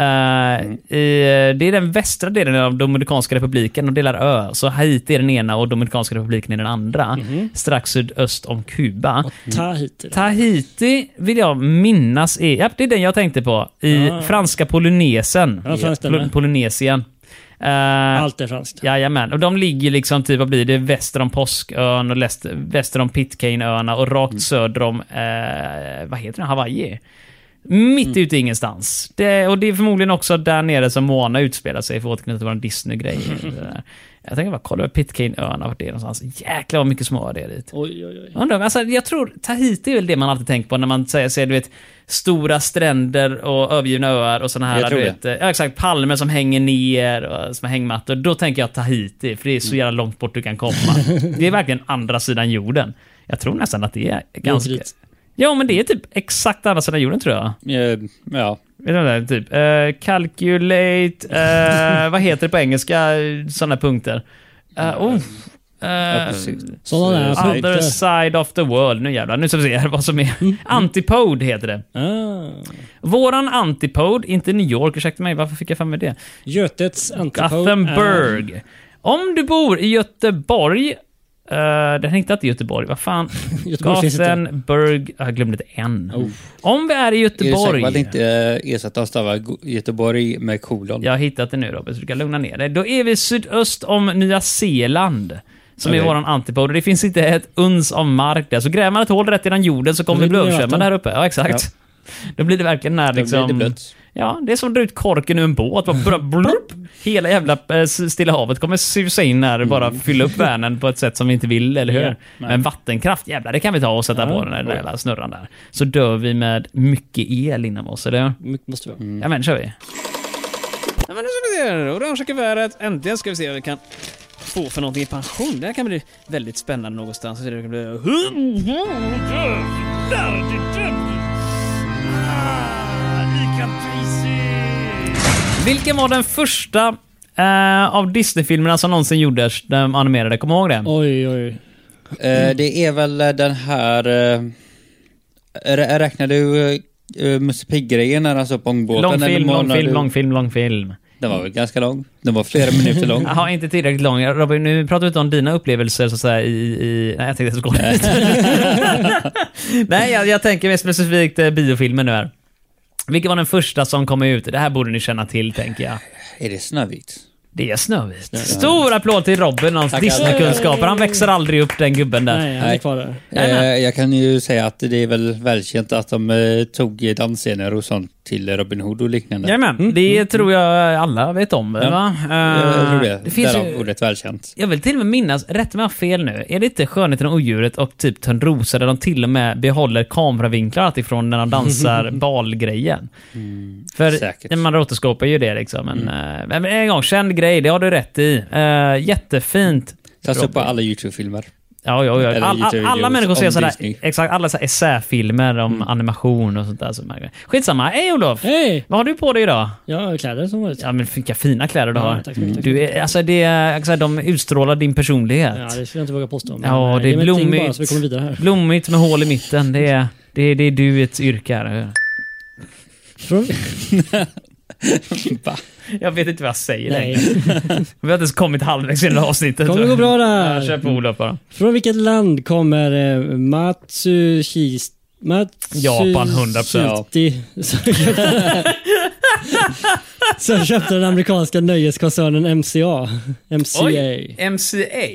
Speaker 3: Eh,
Speaker 5: Mm.
Speaker 3: i, eh, det är den västra delen av Dominikanska republiken och delar ö. Så Haiti är den ena och Dominikanska republiken är den andra.
Speaker 5: Mm-hmm.
Speaker 3: Strax sydöst om Kuba.
Speaker 1: Tahiti. då.
Speaker 3: Tahiti vill jag minnas är, ja, det är den jag tänkte på, i
Speaker 1: Ah.
Speaker 3: franska Polynesien.
Speaker 1: Ja, fransk den
Speaker 3: Pol-
Speaker 1: med.
Speaker 3: Polynesien. Eh,
Speaker 1: Allt är franskt.
Speaker 3: Jajamän, och de ligger liksom typ, vad blir det, väster om Påskön och läst, väster om Pitcairnöarna och rakt
Speaker 1: Mm.
Speaker 3: söder om, eh, vad heter det, Hawaii? Mitt
Speaker 1: Mm.
Speaker 3: ute i ingenstans. Det, och det är förmodligen också där nere som Moana utspelar sig, för att återknyta till vår Disney-grej. Det där. jag tänker bara kolla upp Pitcairnöarna, vart det är någonstans. Jäklar vad mycket små det är dit.
Speaker 1: Oj, oj, oj.
Speaker 3: Jag Undrar, alltså, jag tror Tahiti är väl det man alltid tänker på när man säger, säger du vet, stora stränder och övergivna öar och sådana här,
Speaker 5: Jag tror
Speaker 3: du vet, eh, ja, exakt, palmer som hänger ner och som hängmattor. Då tänker jag Tahiti, för det är så jävla långt bort du kan komma. det är verkligen andra sidan jorden. Jag tror nästan att det är ganska...
Speaker 1: dit.
Speaker 3: Ja, men det är typ exakt andra sidan jorden tror jag.
Speaker 5: Eh, Ja,
Speaker 3: Vet du vad det är? typ? eh, calculate, eh, vad heter det på engelska, sådana punkter. Eh, oh,
Speaker 5: ja,
Speaker 3: eh,
Speaker 5: precis.
Speaker 1: Sådana där
Speaker 5: Så-
Speaker 1: punkter.
Speaker 3: Other side of the world. Nu jävlar, nu ska vi se här vad som är. Antipode heter det.
Speaker 1: Ah.
Speaker 3: Våran antipode, inte New York, ursäkta mig, varför fick jag fram med det?
Speaker 1: Götets antipod. är-
Speaker 3: Gothenburg. Om du bor i Göteborg, eh, den hittar inte Göteborg, vad fan?
Speaker 1: Göteborg finns inte.
Speaker 3: Gothenburg, jag glömde ett N. Om vi är i
Speaker 5: Är du säker
Speaker 3: Göteborg,
Speaker 5: på att inte eh, ersätta och stava Go- Göteborg med kolon?
Speaker 3: jag har hittat det nu Robert, så du kan lugna ner dig. Då är vi sydöst om Nya Zeeland. Som är
Speaker 5: Okej.
Speaker 3: våran antipod. Och Det finns inte ett uns av mark där. Så gräver man ett hål rätt genom jorden så kommer
Speaker 1: Då
Speaker 3: vi bli
Speaker 1: blir det
Speaker 3: översvämmade
Speaker 1: vatten.
Speaker 3: här uppe. Ja, exakt. Då blir det verkligen när
Speaker 5: Då
Speaker 3: liksom...
Speaker 5: blir det blött.
Speaker 3: Ja, det är som att dra ut korken ur en båt. Bara blup, blup. Hela jävla eh, s- Stilla havet kommer susa in här och bara fylla upp Vänern på ett sätt som vi inte vill, eller hur?
Speaker 1: Ja,
Speaker 3: Men vattenkraft, jävlar, det kan vi ta och sätta
Speaker 1: Ja.
Speaker 3: på den där jävla snurran där. Så dör vi med mycket el inom oss, eller hur?
Speaker 1: Mycket måste vara.
Speaker 3: Ja, men kör vi.
Speaker 6: Ja, men nu ska vi se här. Orange kuvertet. Äntligen ska vi se vad vi kan få för någonting i pension. Det här kan bli väldigt spännande någonstans. Det kan bli...
Speaker 3: Vilken var den första eh, av Disney-filmerna som någonsin gjordes, den animerade? Kommer du ihåg det?
Speaker 1: Oj, oj.
Speaker 5: Eh, Det är väl eh, den här... eh, rä- Räknar du uh, Musse Pigg-grejen när han står på ångbåten? eller
Speaker 3: Långfilm,
Speaker 5: målar
Speaker 3: långfilm,
Speaker 5: du-
Speaker 3: långfilm, långfilm.
Speaker 5: Den var väl ganska lång? Den var flera minuter lång.
Speaker 3: Jaha, inte tillräckligt lång. Robin, nu pratar vi inte om dina upplevelser så att säga, i, i... Nej, jag tänkte att jag skulle lite. Nej, jag, jag tänker mer specifikt eh, biofilmer nu här. Vilken var den första som kom ut? Det här borde ni känna till, tänker jag.
Speaker 5: Är det Snövit?
Speaker 3: Det är Snövit. Stor applåd till Robin och hans
Speaker 5: Tackar.
Speaker 3: Disney-kunskaper. Han växer aldrig upp, den gubben där.
Speaker 1: Nej, han är
Speaker 5: Nej.
Speaker 1: kvar där.
Speaker 3: Nej,
Speaker 5: Eh,
Speaker 3: nej.
Speaker 5: jag kan ju säga att det är väl välkänt att de eh, tog dansscener och sånt till Robin Hood och liknande.
Speaker 3: Jajamän, det tror jag alla vet om. Va? Eh,
Speaker 5: Mm. jag tror det.
Speaker 3: det finns
Speaker 5: Därav
Speaker 3: ju,
Speaker 5: ordet välkänt.
Speaker 3: jag vill till och med minnas, rätt mig om jag har fel nu, är det inte Skönheten och odjuret och typ Törnrosa där de till och med behåller kameravinklar alltifrån när de dansar balgrejen?
Speaker 1: Mm,
Speaker 3: För
Speaker 5: säkert.
Speaker 3: man återskapar ju det liksom. Men, eh, men en gång, känd grej, det har du rätt i. Eh, jättefint.
Speaker 5: Tas upp på
Speaker 3: Robin.
Speaker 5: alla YouTube-filmer.
Speaker 3: Ja, ja, ja.
Speaker 5: Eller
Speaker 3: All, all,
Speaker 5: YouTube-videos
Speaker 3: alla människor ser
Speaker 5: om
Speaker 3: sådär,
Speaker 5: Disney.
Speaker 3: exakt, alla sådär essäfilmer om animation och sånt där. sådana här grejer. Skitsamma. Hej Olof!
Speaker 1: Mm. Hej!
Speaker 3: Vad har du på dig idag?
Speaker 1: Ja, kläder som vanligt.
Speaker 3: Ja men vilka fina kläder du
Speaker 1: Ja,
Speaker 3: har.
Speaker 1: tack så mycket, tack så
Speaker 3: du är, alltså det är, alltså, de utstrålar din personlighet.
Speaker 1: Ja, det skulle jag inte våga påstå. men,
Speaker 3: Ja,
Speaker 1: eh,
Speaker 3: det är
Speaker 1: ge mig ett ting
Speaker 3: blommigt.
Speaker 1: Bara, så vi kommer vidare här.
Speaker 3: Blommigt med hål i mitten. Det är, det är, det är du i ett yrke här.
Speaker 1: Från...
Speaker 5: Va?
Speaker 3: Jag vet inte vad jag säger
Speaker 1: Nej,
Speaker 3: längre. Vi har inte ens kommit halvvägs i det här avsnittet.
Speaker 1: kommer gå bra
Speaker 3: Ja, Kör
Speaker 1: där.
Speaker 3: på Olof bara.
Speaker 1: Från vilket land kommer eh, Matsushis... Matsushiti...
Speaker 3: Japan, 100%.
Speaker 1: Som köpte den amerikanska nöjeskoncernen MCA. MCA.
Speaker 3: MCA?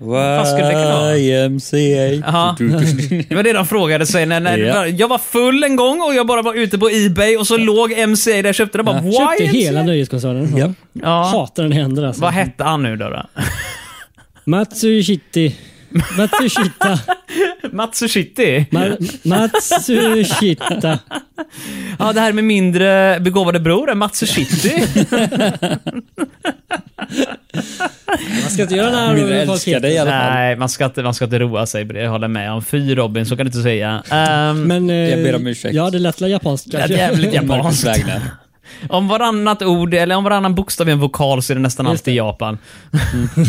Speaker 5: Vad
Speaker 3: skulle det kunna vara? Jaha.
Speaker 5: YMCA. Du- du- du-
Speaker 3: Det var det de frågade sig. När, när
Speaker 5: Ja.
Speaker 3: Jag var full en gång och jag bara var ute på Ebay och så låg MCA där jag köpte det. Bara, Why
Speaker 1: Köpte
Speaker 3: MCA?
Speaker 1: hela nöjeskoncernen.
Speaker 5: Japp.
Speaker 3: Ja.
Speaker 1: Hatar den händer alltså.
Speaker 3: Vad hette han nu då? då?
Speaker 1: Matsushiti. Matsushita.
Speaker 3: Matsushiti?
Speaker 1: Ma- Matsushita.
Speaker 3: Ja, det här med mindre begåvade bror, Matsushiti.
Speaker 1: Man ska inte göra när
Speaker 5: Vill älska dig i alla fall.
Speaker 3: Nej, man ska, inte, man ska inte roa sig. Det håller jag med om. Fy Robin, så kan du inte säga. Ehm,
Speaker 1: Men, eh,
Speaker 5: Jag ber om ursäkt.
Speaker 1: Ja, det lät väl japanskt
Speaker 3: det är
Speaker 1: kanske.
Speaker 3: jävligt japanskt.
Speaker 5: Marcus Wagner.
Speaker 3: Om varannat ord, eller om varannan bokstav är en vokal så är det nästan alltid Japan.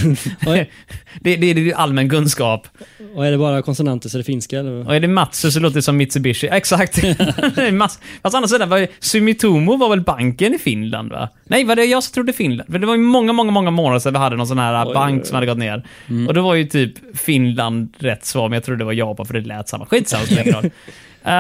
Speaker 1: Mm. Oj.
Speaker 3: det, det, det är ju allmän kunskap.
Speaker 1: Och är det bara konsonanter så är det finska? Eller?
Speaker 3: Och är det Matsu så låter det som Mitsubishi. Exakt. Det är mass- Fast å andra sidan, var, Sumitomo var väl banken i Finland va? Nej, var det jag som trodde Finland? För det var ju många, många, många månader sedan vi hade någon sån här bank som hade gått ner.
Speaker 1: Mm.
Speaker 3: Och då var ju typ Finland rätt svar, men jag trodde det var Japan för det lät samma. Skitsamma, spelar ingen roll. Eh,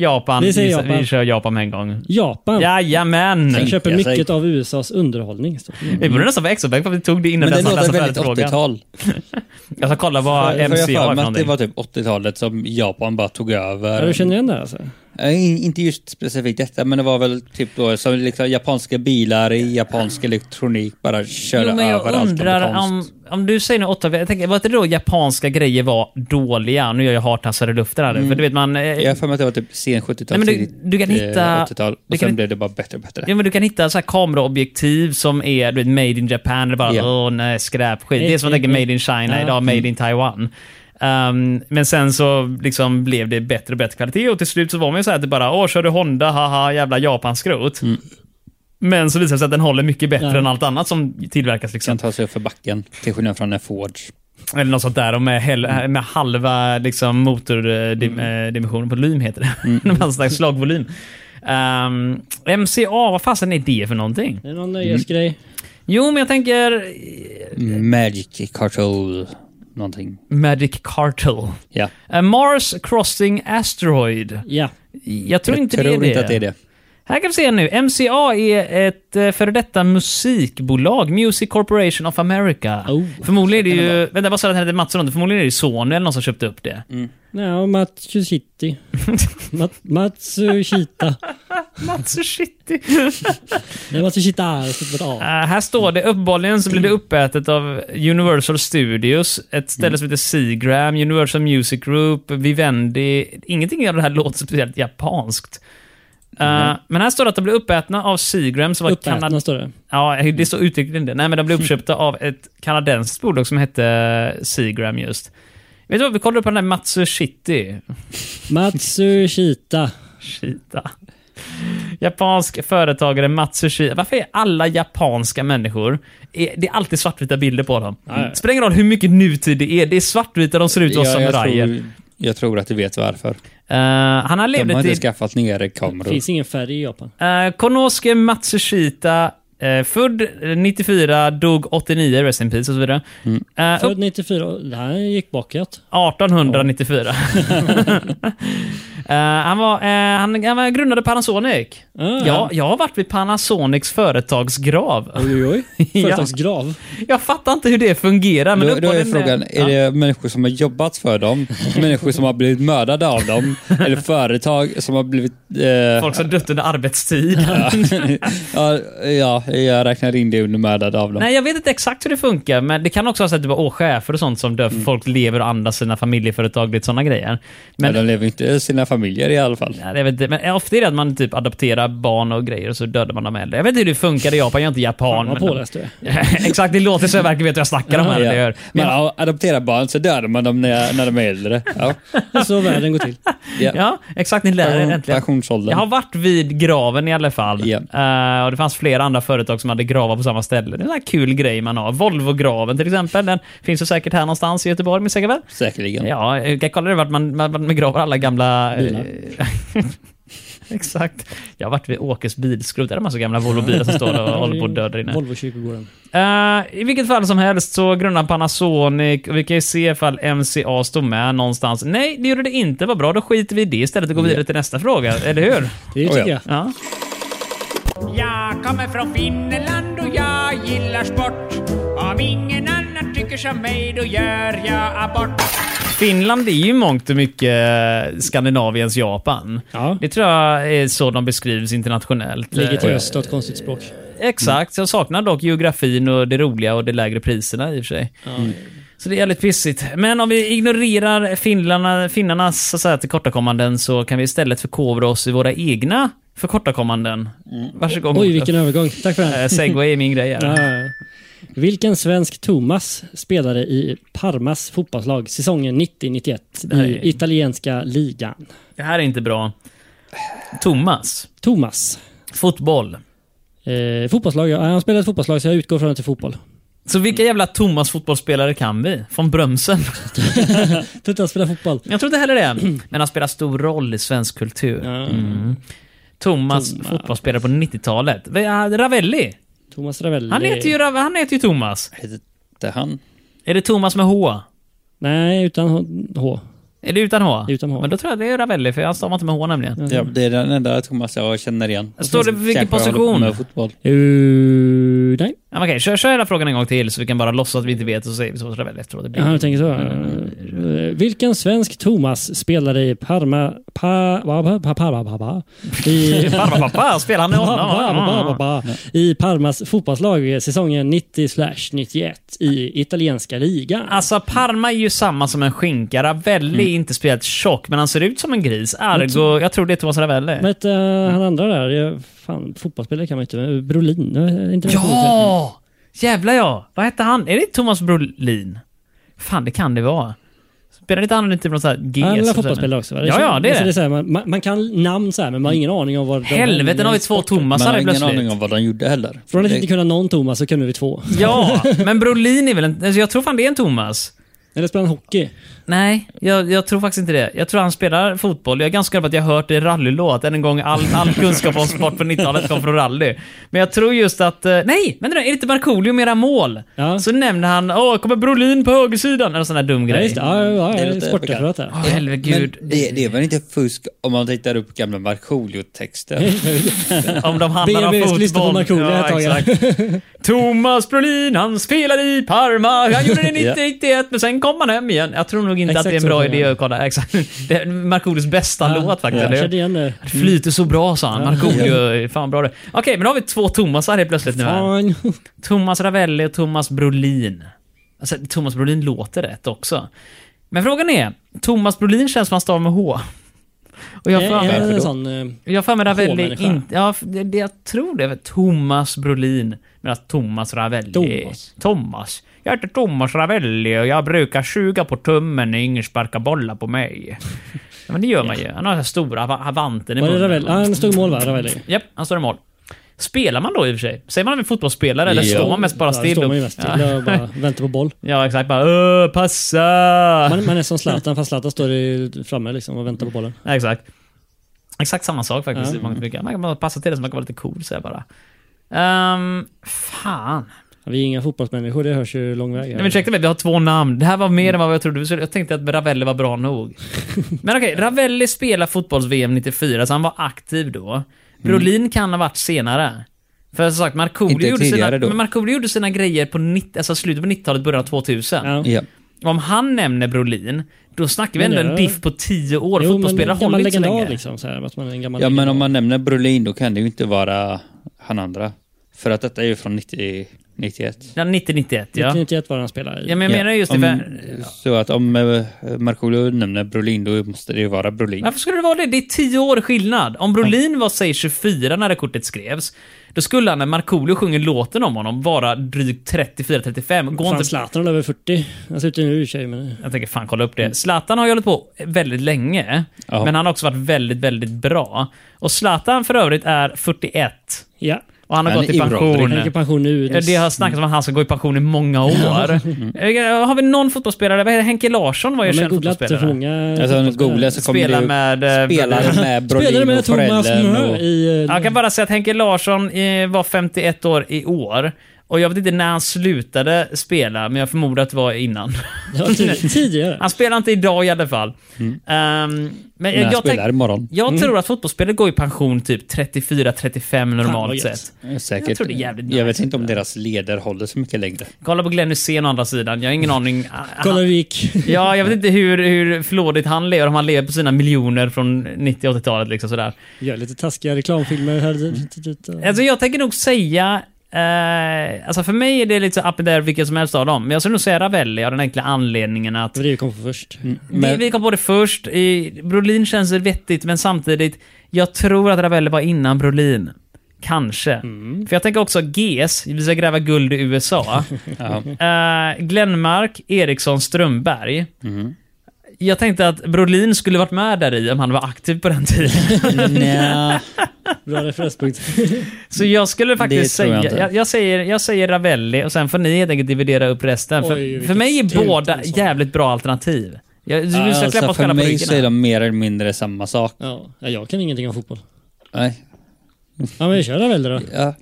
Speaker 3: Japan.
Speaker 1: Vi säger Japan.
Speaker 3: vi kör Japan med en gång.
Speaker 1: Japan.
Speaker 3: Jajamän!
Speaker 1: Jag köper
Speaker 5: Tänka sig.
Speaker 1: mycket av USAs underhållning. står det.
Speaker 3: Vi borde nästan vara extra för vi tog det innan
Speaker 5: Mm. Men det
Speaker 3: vi ens hade
Speaker 5: låter
Speaker 3: läst
Speaker 5: väldigt
Speaker 3: färdigt frågan.
Speaker 5: 80-tal.
Speaker 3: Jag ska kolla vad
Speaker 5: För jag
Speaker 3: MC
Speaker 5: har
Speaker 3: har
Speaker 5: för mig
Speaker 3: för
Speaker 5: att det
Speaker 3: någonting.
Speaker 5: var typ 80-talet som Japan bara tog
Speaker 1: Ja,
Speaker 5: över.
Speaker 1: du känner igen det här, alltså?
Speaker 5: Eh, in- Inte just specifikt detta, men det var väl typ då som liksom japanska bilar i japansk elektronik bara körde
Speaker 3: Jo, men jag
Speaker 5: över allt
Speaker 3: undrar
Speaker 5: amerikanskt.
Speaker 3: om, om du säger nu åtta, jag tänker, var inte då japanska grejer var dåliga? Nu gör jag hartassar i luften här nu,
Speaker 5: Mm.
Speaker 3: för du vet man... eh,
Speaker 5: Jag har för mig att det var typ sen
Speaker 3: Nej,
Speaker 5: 70-tal,
Speaker 3: men du-
Speaker 5: tidigt
Speaker 3: du kan
Speaker 5: eh,
Speaker 3: hitta- du
Speaker 5: 80-tal. Och
Speaker 3: kan
Speaker 5: sen
Speaker 3: hit-
Speaker 5: blev det bara bättre och bättre.
Speaker 3: Ja, men du kan hitta så här kameraobjektiv som är du vet, made in Japan, eller bara
Speaker 5: Ja.
Speaker 3: åh nej, skräpskit. Det är som att tänker made in China
Speaker 1: Ja.
Speaker 3: idag, made in Taiwan. Ehm, men sen så liksom blev det bättre och bättre kvalitet och till slut så var man ju så här att det bara, åh kör du Honda, haha, jävla japanskrot. Men så visar det sig att den håller mycket bättre
Speaker 1: Ja.
Speaker 3: än allt annat som tillverkas. Liksom.
Speaker 5: Kan ta sig upp för backen, till skillnad från en Ford.
Speaker 3: Eller något sånt där, och med, hel- med halva liksom, motordimensionen på eh, volym heter det. Mm. Någon slags slagvolym. Ehm, MCA, vad fasen är det för någonting?
Speaker 1: Det är någon nöjesgrej.
Speaker 3: Jo, men jag tänker
Speaker 5: Magic Cartel, någonting.
Speaker 3: Magic Cartel.
Speaker 5: Ja.
Speaker 3: Eh, Mars Crossing Asteroid.
Speaker 1: Ja.
Speaker 3: Jag tror
Speaker 5: Jag
Speaker 3: inte,
Speaker 5: tror
Speaker 3: det, är
Speaker 5: inte att det är det.
Speaker 3: Här kan vi se nu. MCA är ett eh, före detta musikbolag, Music Corporation of America.
Speaker 1: Oh,
Speaker 3: Förmodligen är det ju, vänta vad sa den här hette Mats Ronde? Förmodligen är det ju Sony eller någon som köpte upp
Speaker 5: Mm.
Speaker 3: det.
Speaker 1: Nej, och Matsushiti. Mat- Matsushita.
Speaker 3: Alltså, Matsushiti.
Speaker 1: Nej, Matsushita är slutet på ett
Speaker 3: Eh,
Speaker 1: A.
Speaker 3: här står det, uppenbarligen så blev det uppätet av Universal Studios, ett ställe som heter Seagram, Universal Music Group, Vivendi. Ingenting av det här låter speciellt japanskt. Eh, Men här står det att de blev uppätna av Seagram som var
Speaker 1: Uppätna
Speaker 3: kanad...
Speaker 1: står det.
Speaker 3: Ja, det står uttryckligen det. Nej, men de blev uppköpta av ett kanadensiskt bolag som hette Seagram just. Vet du vad, vi kollar upp den där Matsushiti.
Speaker 1: Matsushita.
Speaker 3: Shita. Japansk företagare Matsushita. Varför är alla japanska människor, är, det är alltid svartvita bilder på dem.
Speaker 1: Nej.
Speaker 3: Spelar ingen roll hur mycket nutid det är, det är svartvita, de ser ut att vara
Speaker 5: jag,
Speaker 3: samurajer.
Speaker 5: tror, jag tror att du vet varför.
Speaker 3: Eh, han har
Speaker 5: De har
Speaker 3: levde
Speaker 5: inte
Speaker 3: till
Speaker 5: skaffat ner
Speaker 1: Det
Speaker 5: kameror.
Speaker 1: finns ingen färg i Japan.
Speaker 3: Eh, Konosuke Matsushita, eh, född 94, dog 89, rest in peace och så vidare. Eh,
Speaker 1: Född 94. och Det här gick bakåt.
Speaker 3: 1894. Eh, han, var, eh, han, han var grundade Panasonic.
Speaker 1: Ah.
Speaker 3: Ja, jag har varit vid Panasonics företagsgrav.
Speaker 1: Oj, oj, oj. Företagsgrav.
Speaker 3: Jag fattar inte hur det fungerar. Men
Speaker 5: Då, då är
Speaker 3: uppenbarligen-
Speaker 5: frågan, är det människor som har jobbat för dem? människor som har blivit mördade av dem? eller företag som har blivit...
Speaker 3: Ja,
Speaker 5: Eh,
Speaker 3: Folk som dött under arbetstid.
Speaker 5: ja, ja, jag räknar in det under mördade av dem.
Speaker 3: Nej, jag vet inte exakt hur det funkar, men det kan också vara så att det var chefer och sånt som dör, för
Speaker 5: Mm.
Speaker 3: folk lever och andas sina familjeföretag, lite sådana grejer. Men,
Speaker 5: Men de lever inte sina familjer i alla fall.
Speaker 3: Nej, jag vet inte, men ofta är det att man typ adopterar barn och grejer och så dödar man dem äldre. Jag vet inte hur det funkar i Japan, jag är inte japan.
Speaker 1: Vad
Speaker 3: men...
Speaker 1: påläst du är.
Speaker 3: exakt, det låter så jag verkligen vet hur jag snackar om här.
Speaker 5: Ja.
Speaker 3: det gör.
Speaker 5: Men ja, adopterar barn så dödar man dem när, när de är äldre. Ja,
Speaker 1: Det är så världen går till.
Speaker 5: ja.
Speaker 3: Ja, exakt. Ni lär er
Speaker 5: Pension-
Speaker 3: äntligen.
Speaker 5: pensionsåldern.
Speaker 3: Jag har varit vid graven i alla fall.
Speaker 5: Ja.
Speaker 3: Eh, och Det fanns flera andra företag som hade gravar på samma ställe. Det är en sån här kul grej man har. Volvo-graven till exempel. Den finns ju säkert här någonstans i Göteborg, minns jag väl?
Speaker 5: Säkerligen.
Speaker 3: Ja, jag kan kolla det vart man, man, man begraver alla gamla... eh,
Speaker 1: Bilar.
Speaker 3: Exakt. Jag har varit vid Åkes bilskrot. Där är en massa gamla Volvo-bilar som står och håller på att dö där inne.
Speaker 1: Volvo kyrkogården.
Speaker 3: Eh, I vilket fall som helst så grundade Panasonic och vi kan ju se ifall MCA stod med någonstans. Nej, det gjorde det inte. Vad bra, då skiter vi i det istället och går vidare till nästa fråga, eller hur?
Speaker 1: Det
Speaker 5: Oh,
Speaker 1: tycker
Speaker 5: ja.
Speaker 1: jag.
Speaker 3: Ja.
Speaker 8: Jag kommer från Finland och jag gillar sport. Om ingen annan tycker som mig, då gör jag abort.
Speaker 3: Finland är ju mångt och mycket eh, Skandinaviens Japan.
Speaker 1: Ja.
Speaker 3: Det tror jag är så de beskrivs internationellt.
Speaker 1: Ligger till
Speaker 3: Eh,
Speaker 1: öst och ett konstigt språk.
Speaker 3: Exakt, jag saknar dock geografin och det roliga och de lägre priserna i och för sig. Mm. Så det är jävligt pissigt. Men om vi ignorerar finlarna, finnarnas så att säga, tillkortakommanden så kan vi istället förkovra oss i våra egna förkortakommanden. Varsågod.
Speaker 1: Oj, vilken övergång. Tack för den.
Speaker 3: Eh, Segway är min grej här.
Speaker 1: Ja, ja, ja. Vilken svensk Thomas spelade i Parmas fotbollslag säsongen 90-91
Speaker 3: Nej.
Speaker 1: i italienska ligan?
Speaker 3: Det här är inte bra. Thomas.
Speaker 1: Thomas.
Speaker 3: Fotboll.
Speaker 1: Eh, fotbollslag, ja, han spelade ett fotbollslag så jag utgår från att det är fotboll.
Speaker 3: Så vilka jävla Thomas fotbollsspelare kan vi? Från Brömsen?
Speaker 1: Jag tror inte han spelar fotboll.
Speaker 3: Jag tror inte heller det. Men han spelar stor roll i svensk kultur. Mm. Thomas, fotbollsspelare på 90-talet. Vi har Ravelli.
Speaker 1: Thomas Ravelli.
Speaker 3: Han heter, ju, Rav- han heter ju Thomas.
Speaker 5: Hette han?
Speaker 3: Är det Thomas med H?
Speaker 1: Nej, utan H.
Speaker 3: Är det utan H?
Speaker 1: Utan H.
Speaker 3: Men då tror jag det är Ravelli, för han stavar inte med H nämligen.
Speaker 5: Ja, det är den enda Thomas jag känner igen.
Speaker 3: Står det vilken
Speaker 5: Kanske jag håller på
Speaker 3: position?
Speaker 5: Med fotboll.
Speaker 1: Uh, nej,
Speaker 3: Ja, men Okej, kör, kör hela frågan en gång till så vi kan bara låtsas att vi inte vet och så säger vi Thomas Ravelli efteråt. Det blir-
Speaker 1: han tänker så. Eh, vilken svensk Thomas spelade i Parma... Pa, pa, pa, pa, pa, pa, pa, i,
Speaker 3: Barba pappa, spelar han med Mm.
Speaker 1: Ba, ba, ba, ba,
Speaker 3: honom?
Speaker 1: ba. I Parmas fotbollslag eh, säsongen 90-91 i italienska ligan.
Speaker 3: Alltså Parma är ju samma som en skinka. Ravelli
Speaker 1: Mm.
Speaker 3: är inte speciellt tjock, men han ser ut som en gris. Ergo, jag tror det är Thomas Ravelli.
Speaker 1: Vad hette
Speaker 3: Mm.
Speaker 1: eh, han andra där? Jag- Fan, fotbollsspelare kan man ju inte. Brolin? eh, Inte
Speaker 3: Ja! Jävlar ja! Vad hette han? Är det Thomas Brolin? Fan, det kan det vara. Spelade inte han inte någon sån här G? som
Speaker 1: Alla
Speaker 3: säger-
Speaker 1: fotbollsspelare också va?
Speaker 3: Ja, ja, det är
Speaker 1: Alltså,
Speaker 3: det.
Speaker 1: så här, man- man, man kan namn så här, men man har ingen aning om vad de...
Speaker 3: Helvete, nu har vi två
Speaker 5: Man
Speaker 3: Thomasar
Speaker 5: har
Speaker 3: här
Speaker 5: ingen aning
Speaker 3: plötsligt.
Speaker 5: om vad de gjorde heller.
Speaker 1: Från att
Speaker 5: Det-
Speaker 1: inte kunna någon Thomas så kunde vi två.
Speaker 3: Ja, men Brolin är väl en... Alltså, jag tror fan det är en Thomas.
Speaker 1: Eller spelar han hockey?
Speaker 3: Nej, jag, jag tror faktiskt inte det. Jag tror han spelar fotboll. Jag är ganska säker på att jag har hört det i rallylåt. Än en gång, all, all kunskap om sport från 90-talet kom från rally. Men jag tror just att... eh, Nej! Men det är det inte Markoolio med era mål?
Speaker 1: Ja.
Speaker 3: Så nämnde han, åh, kommer Brolin på högersidan? Eller sån där dum
Speaker 1: Ja,
Speaker 3: grej.
Speaker 1: just det. Ja, ja,
Speaker 5: Det är
Speaker 1: ja,
Speaker 5: lite
Speaker 1: sportreferat där.
Speaker 3: Åh, Helvegud.
Speaker 5: Men det, det är väl inte fusk om man tittar upp gamla Markoolio-texter?
Speaker 3: Om de handlar om
Speaker 1: BB
Speaker 3: fotboll.
Speaker 1: skulle lyssna på Markoolio ett tag. ja.
Speaker 3: exakt. Thomas Brolin, han spelade i Parma. Han gjorde det 1991, men sen kom han hem igen. Jag tror nog inte att
Speaker 1: Exakt
Speaker 3: det är en
Speaker 1: så
Speaker 3: bra
Speaker 1: sjunger
Speaker 3: idé
Speaker 1: han.
Speaker 3: att kolla. Exakt. Det är Markoolios bästa låt faktiskt.
Speaker 1: Jag
Speaker 3: eller hur?
Speaker 1: kände igen eh, det.
Speaker 3: Det flyter så bra, sa han. Markoolio, fan bra det. Okej, men då har vi två Thomasar helt plötsligt nu här.
Speaker 1: Fan.
Speaker 3: Thomas Ravelli och Thomas Brolin. Alltså, Thomas Brolin låter rätt också. Men frågan är, Thomas Brolin känns som han stavar med H. Och jag har för
Speaker 1: Är
Speaker 3: mig-
Speaker 1: det en sån... eh,
Speaker 3: jag har för mig Ravelli
Speaker 1: H-människa.
Speaker 3: inte... Ja, det, det, jag tror det. är Thomas Brolin. Medan Thomas Ravelli...
Speaker 1: Thomas.
Speaker 3: Thomas. Jag heter Thomas Ravelli och jag brukar suga på tummen när ingen sparkar bollar på mig. ja, men det gör man ju. Han har så här stora av- avanten i
Speaker 1: Var det
Speaker 3: munnen.
Speaker 1: Ravelli? Ja, han stod i mål va? Ravelli?
Speaker 3: Japp, han står i mål. Spelar man då i och för sig? Säger man en fotbollsspelare eller
Speaker 5: Ja.
Speaker 3: står man mest bara
Speaker 1: Ja,
Speaker 3: still?
Speaker 1: Står man ju
Speaker 3: och-
Speaker 1: mest
Speaker 3: Ja.
Speaker 1: still och bara väntar på boll.
Speaker 3: Ja, exakt. Bara "Öh, passa!
Speaker 1: Man, man är som Zlatan fast Zlatan står i- framme liksom och väntar på bollen.
Speaker 3: Ja, exakt. Exakt samma sak faktiskt. i mångt och mycket. Man kan bara passa till det så man kan vara lite cool så här bara. Ehm, fan.
Speaker 1: Vi är inga fotbollsmänniskor, det hörs ju lång väg.
Speaker 3: Nej, men ursäkta mig, vi har två namn. Det här var mer än vad jag trodde. vi skulle- Jag tänkte att Ravelli var bra nog. Men okej, Ravelli spelar fotbolls-VM 94, så han var aktiv
Speaker 1: Mm.
Speaker 3: då. Brolin kan ha varit senare. För som sagt, Markoolio
Speaker 5: Inte
Speaker 3: gjorde, sina,
Speaker 5: tidigare då.
Speaker 3: men Markoolio gjorde sina grejer på 90, alltså slutet på 90-talet, början av 2000.
Speaker 1: Ja.
Speaker 5: ja.
Speaker 3: Om han nämner Brolin, då snackar vi
Speaker 1: Men
Speaker 3: ändå en
Speaker 1: ja.
Speaker 3: diff på 10 år.
Speaker 1: Jo, men
Speaker 3: Fotbollsspelare
Speaker 1: gammal
Speaker 3: håller inte så
Speaker 1: legendar
Speaker 3: länge.
Speaker 1: liksom. Så här, att man är en gammal
Speaker 5: ja, men
Speaker 1: legendar.
Speaker 5: om man nämner Brolin då kan det ju inte vara han andra. För att detta är ju från 90, 91.
Speaker 3: Ja, 90-91 ja.
Speaker 1: 1991 var han spelade i.
Speaker 3: Ja, men jag menar just det.
Speaker 5: om,
Speaker 3: För,
Speaker 5: Så att om eh, Markoolio nämner Brolin då måste det ju vara Brolin.
Speaker 3: varför skulle det vara det? Det är 10 år skillnad. Om Brolin var, säg 24 när det kortet skrevs, då skulle han när Markoolio sjunger låten om honom vara drygt 34-35. Gå
Speaker 1: Fan,
Speaker 3: inte...
Speaker 1: Zlatan är över 40. Han ser ut nu i och för sig, men...
Speaker 3: Jag tänker fan kolla upp det. Zlatan har ju hållit på väldigt länge,
Speaker 5: Ja.
Speaker 3: men han har också varit väldigt, väldigt bra. Och Zlatan för övrigt är 41.
Speaker 1: Ja.
Speaker 3: Och han har
Speaker 5: Han
Speaker 3: gått
Speaker 5: är
Speaker 3: i
Speaker 5: inbrott.
Speaker 1: Han gick i
Speaker 3: pension.
Speaker 1: pension nu.
Speaker 3: Ja, Det har snackats om att han ska gå i pension i många år. Eh, Har vi någon fotbollsspelare? Vad heter det? Henke Larsson var ju
Speaker 1: Man har
Speaker 3: känd
Speaker 1: googlat för
Speaker 3: fotbollsspelare.
Speaker 1: många...
Speaker 5: Alltså googla så kommer
Speaker 3: Spela
Speaker 5: det ju-
Speaker 3: med, eh,
Speaker 5: spelare med Brolin
Speaker 1: Spelade med
Speaker 5: och
Speaker 1: Thomas
Speaker 5: föräldern.
Speaker 1: Mö
Speaker 5: Och,
Speaker 1: i... eh,
Speaker 3: Jag kan bara säga att Henke Larsson eh, var 51 år i år. Och jag vet inte när han slutade spela, men jag förmodar att det var innan.
Speaker 1: det var tid- Tidigare.
Speaker 3: Han spelar inte idag i alla fall. Ehm, men
Speaker 5: när
Speaker 3: jag,
Speaker 5: han
Speaker 3: jag,
Speaker 5: spelar
Speaker 3: tänk,
Speaker 5: imorgon.
Speaker 3: jag tror att fotbollsspelare går i pension typ 34-35 normalt
Speaker 1: vad gött.
Speaker 3: sett.
Speaker 5: Eh, Säkert.
Speaker 3: jag tror det är jävligt
Speaker 5: Jag vet
Speaker 3: nice.
Speaker 5: inte om deras leder håller så mycket längre.
Speaker 3: Kolla på Glenn Hysén å andra sidan. Jag har ingen aning.
Speaker 1: Kolla hur det gick.
Speaker 3: Ja, jag vet inte hur, hur flådigt han lever, om han lever på sina miljoner från 90 och 80-talet. Liksom sådär.
Speaker 1: Gör lite taskiga reklamfilmer här. dit, dit, dit, och-
Speaker 3: Alltså jag tänker nog säga... Eh, alltså för mig är det lite så up där vilken som helst av dem. Men jag skulle nog säga Ravelli av den enkla anledningen att
Speaker 1: Det var det vi kom på först.
Speaker 3: vi, vi kom på det först. I, Brolin känns vettigt, men samtidigt, jag tror att Ravelli var innan Brolin. Kanske. För jag tänker också GS, vi ska gräva guld i USA.
Speaker 5: Ja.
Speaker 3: Eh, Glenmark, Eriksson, Strömberg. Jag tänkte att Brolin skulle varit med där i om han var aktiv på den tiden.
Speaker 5: Nja,
Speaker 1: Bra referenspunkt.
Speaker 3: Så jag skulle faktiskt
Speaker 5: tror jag
Speaker 3: säga... Jag,
Speaker 5: inte.
Speaker 3: jag, säger, jag säger Ravelli och sen får ni helt enkelt dividera upp resten.
Speaker 1: Oj,
Speaker 3: för,
Speaker 1: vilket liksom.
Speaker 3: för mig är
Speaker 1: kul
Speaker 3: båda
Speaker 1: tillstånd.
Speaker 3: jävligt bra alternativ. Jag, du ska klappa
Speaker 5: alltså,
Speaker 3: oss själva
Speaker 5: för
Speaker 3: på
Speaker 5: mig så är
Speaker 3: ryggen. här.
Speaker 5: de mer eller mindre samma sak.
Speaker 1: Ja, ja, jag kan ingenting om fotboll.
Speaker 5: Nej.
Speaker 1: Ja, men vi kör Ravelli då.
Speaker 5: Ja.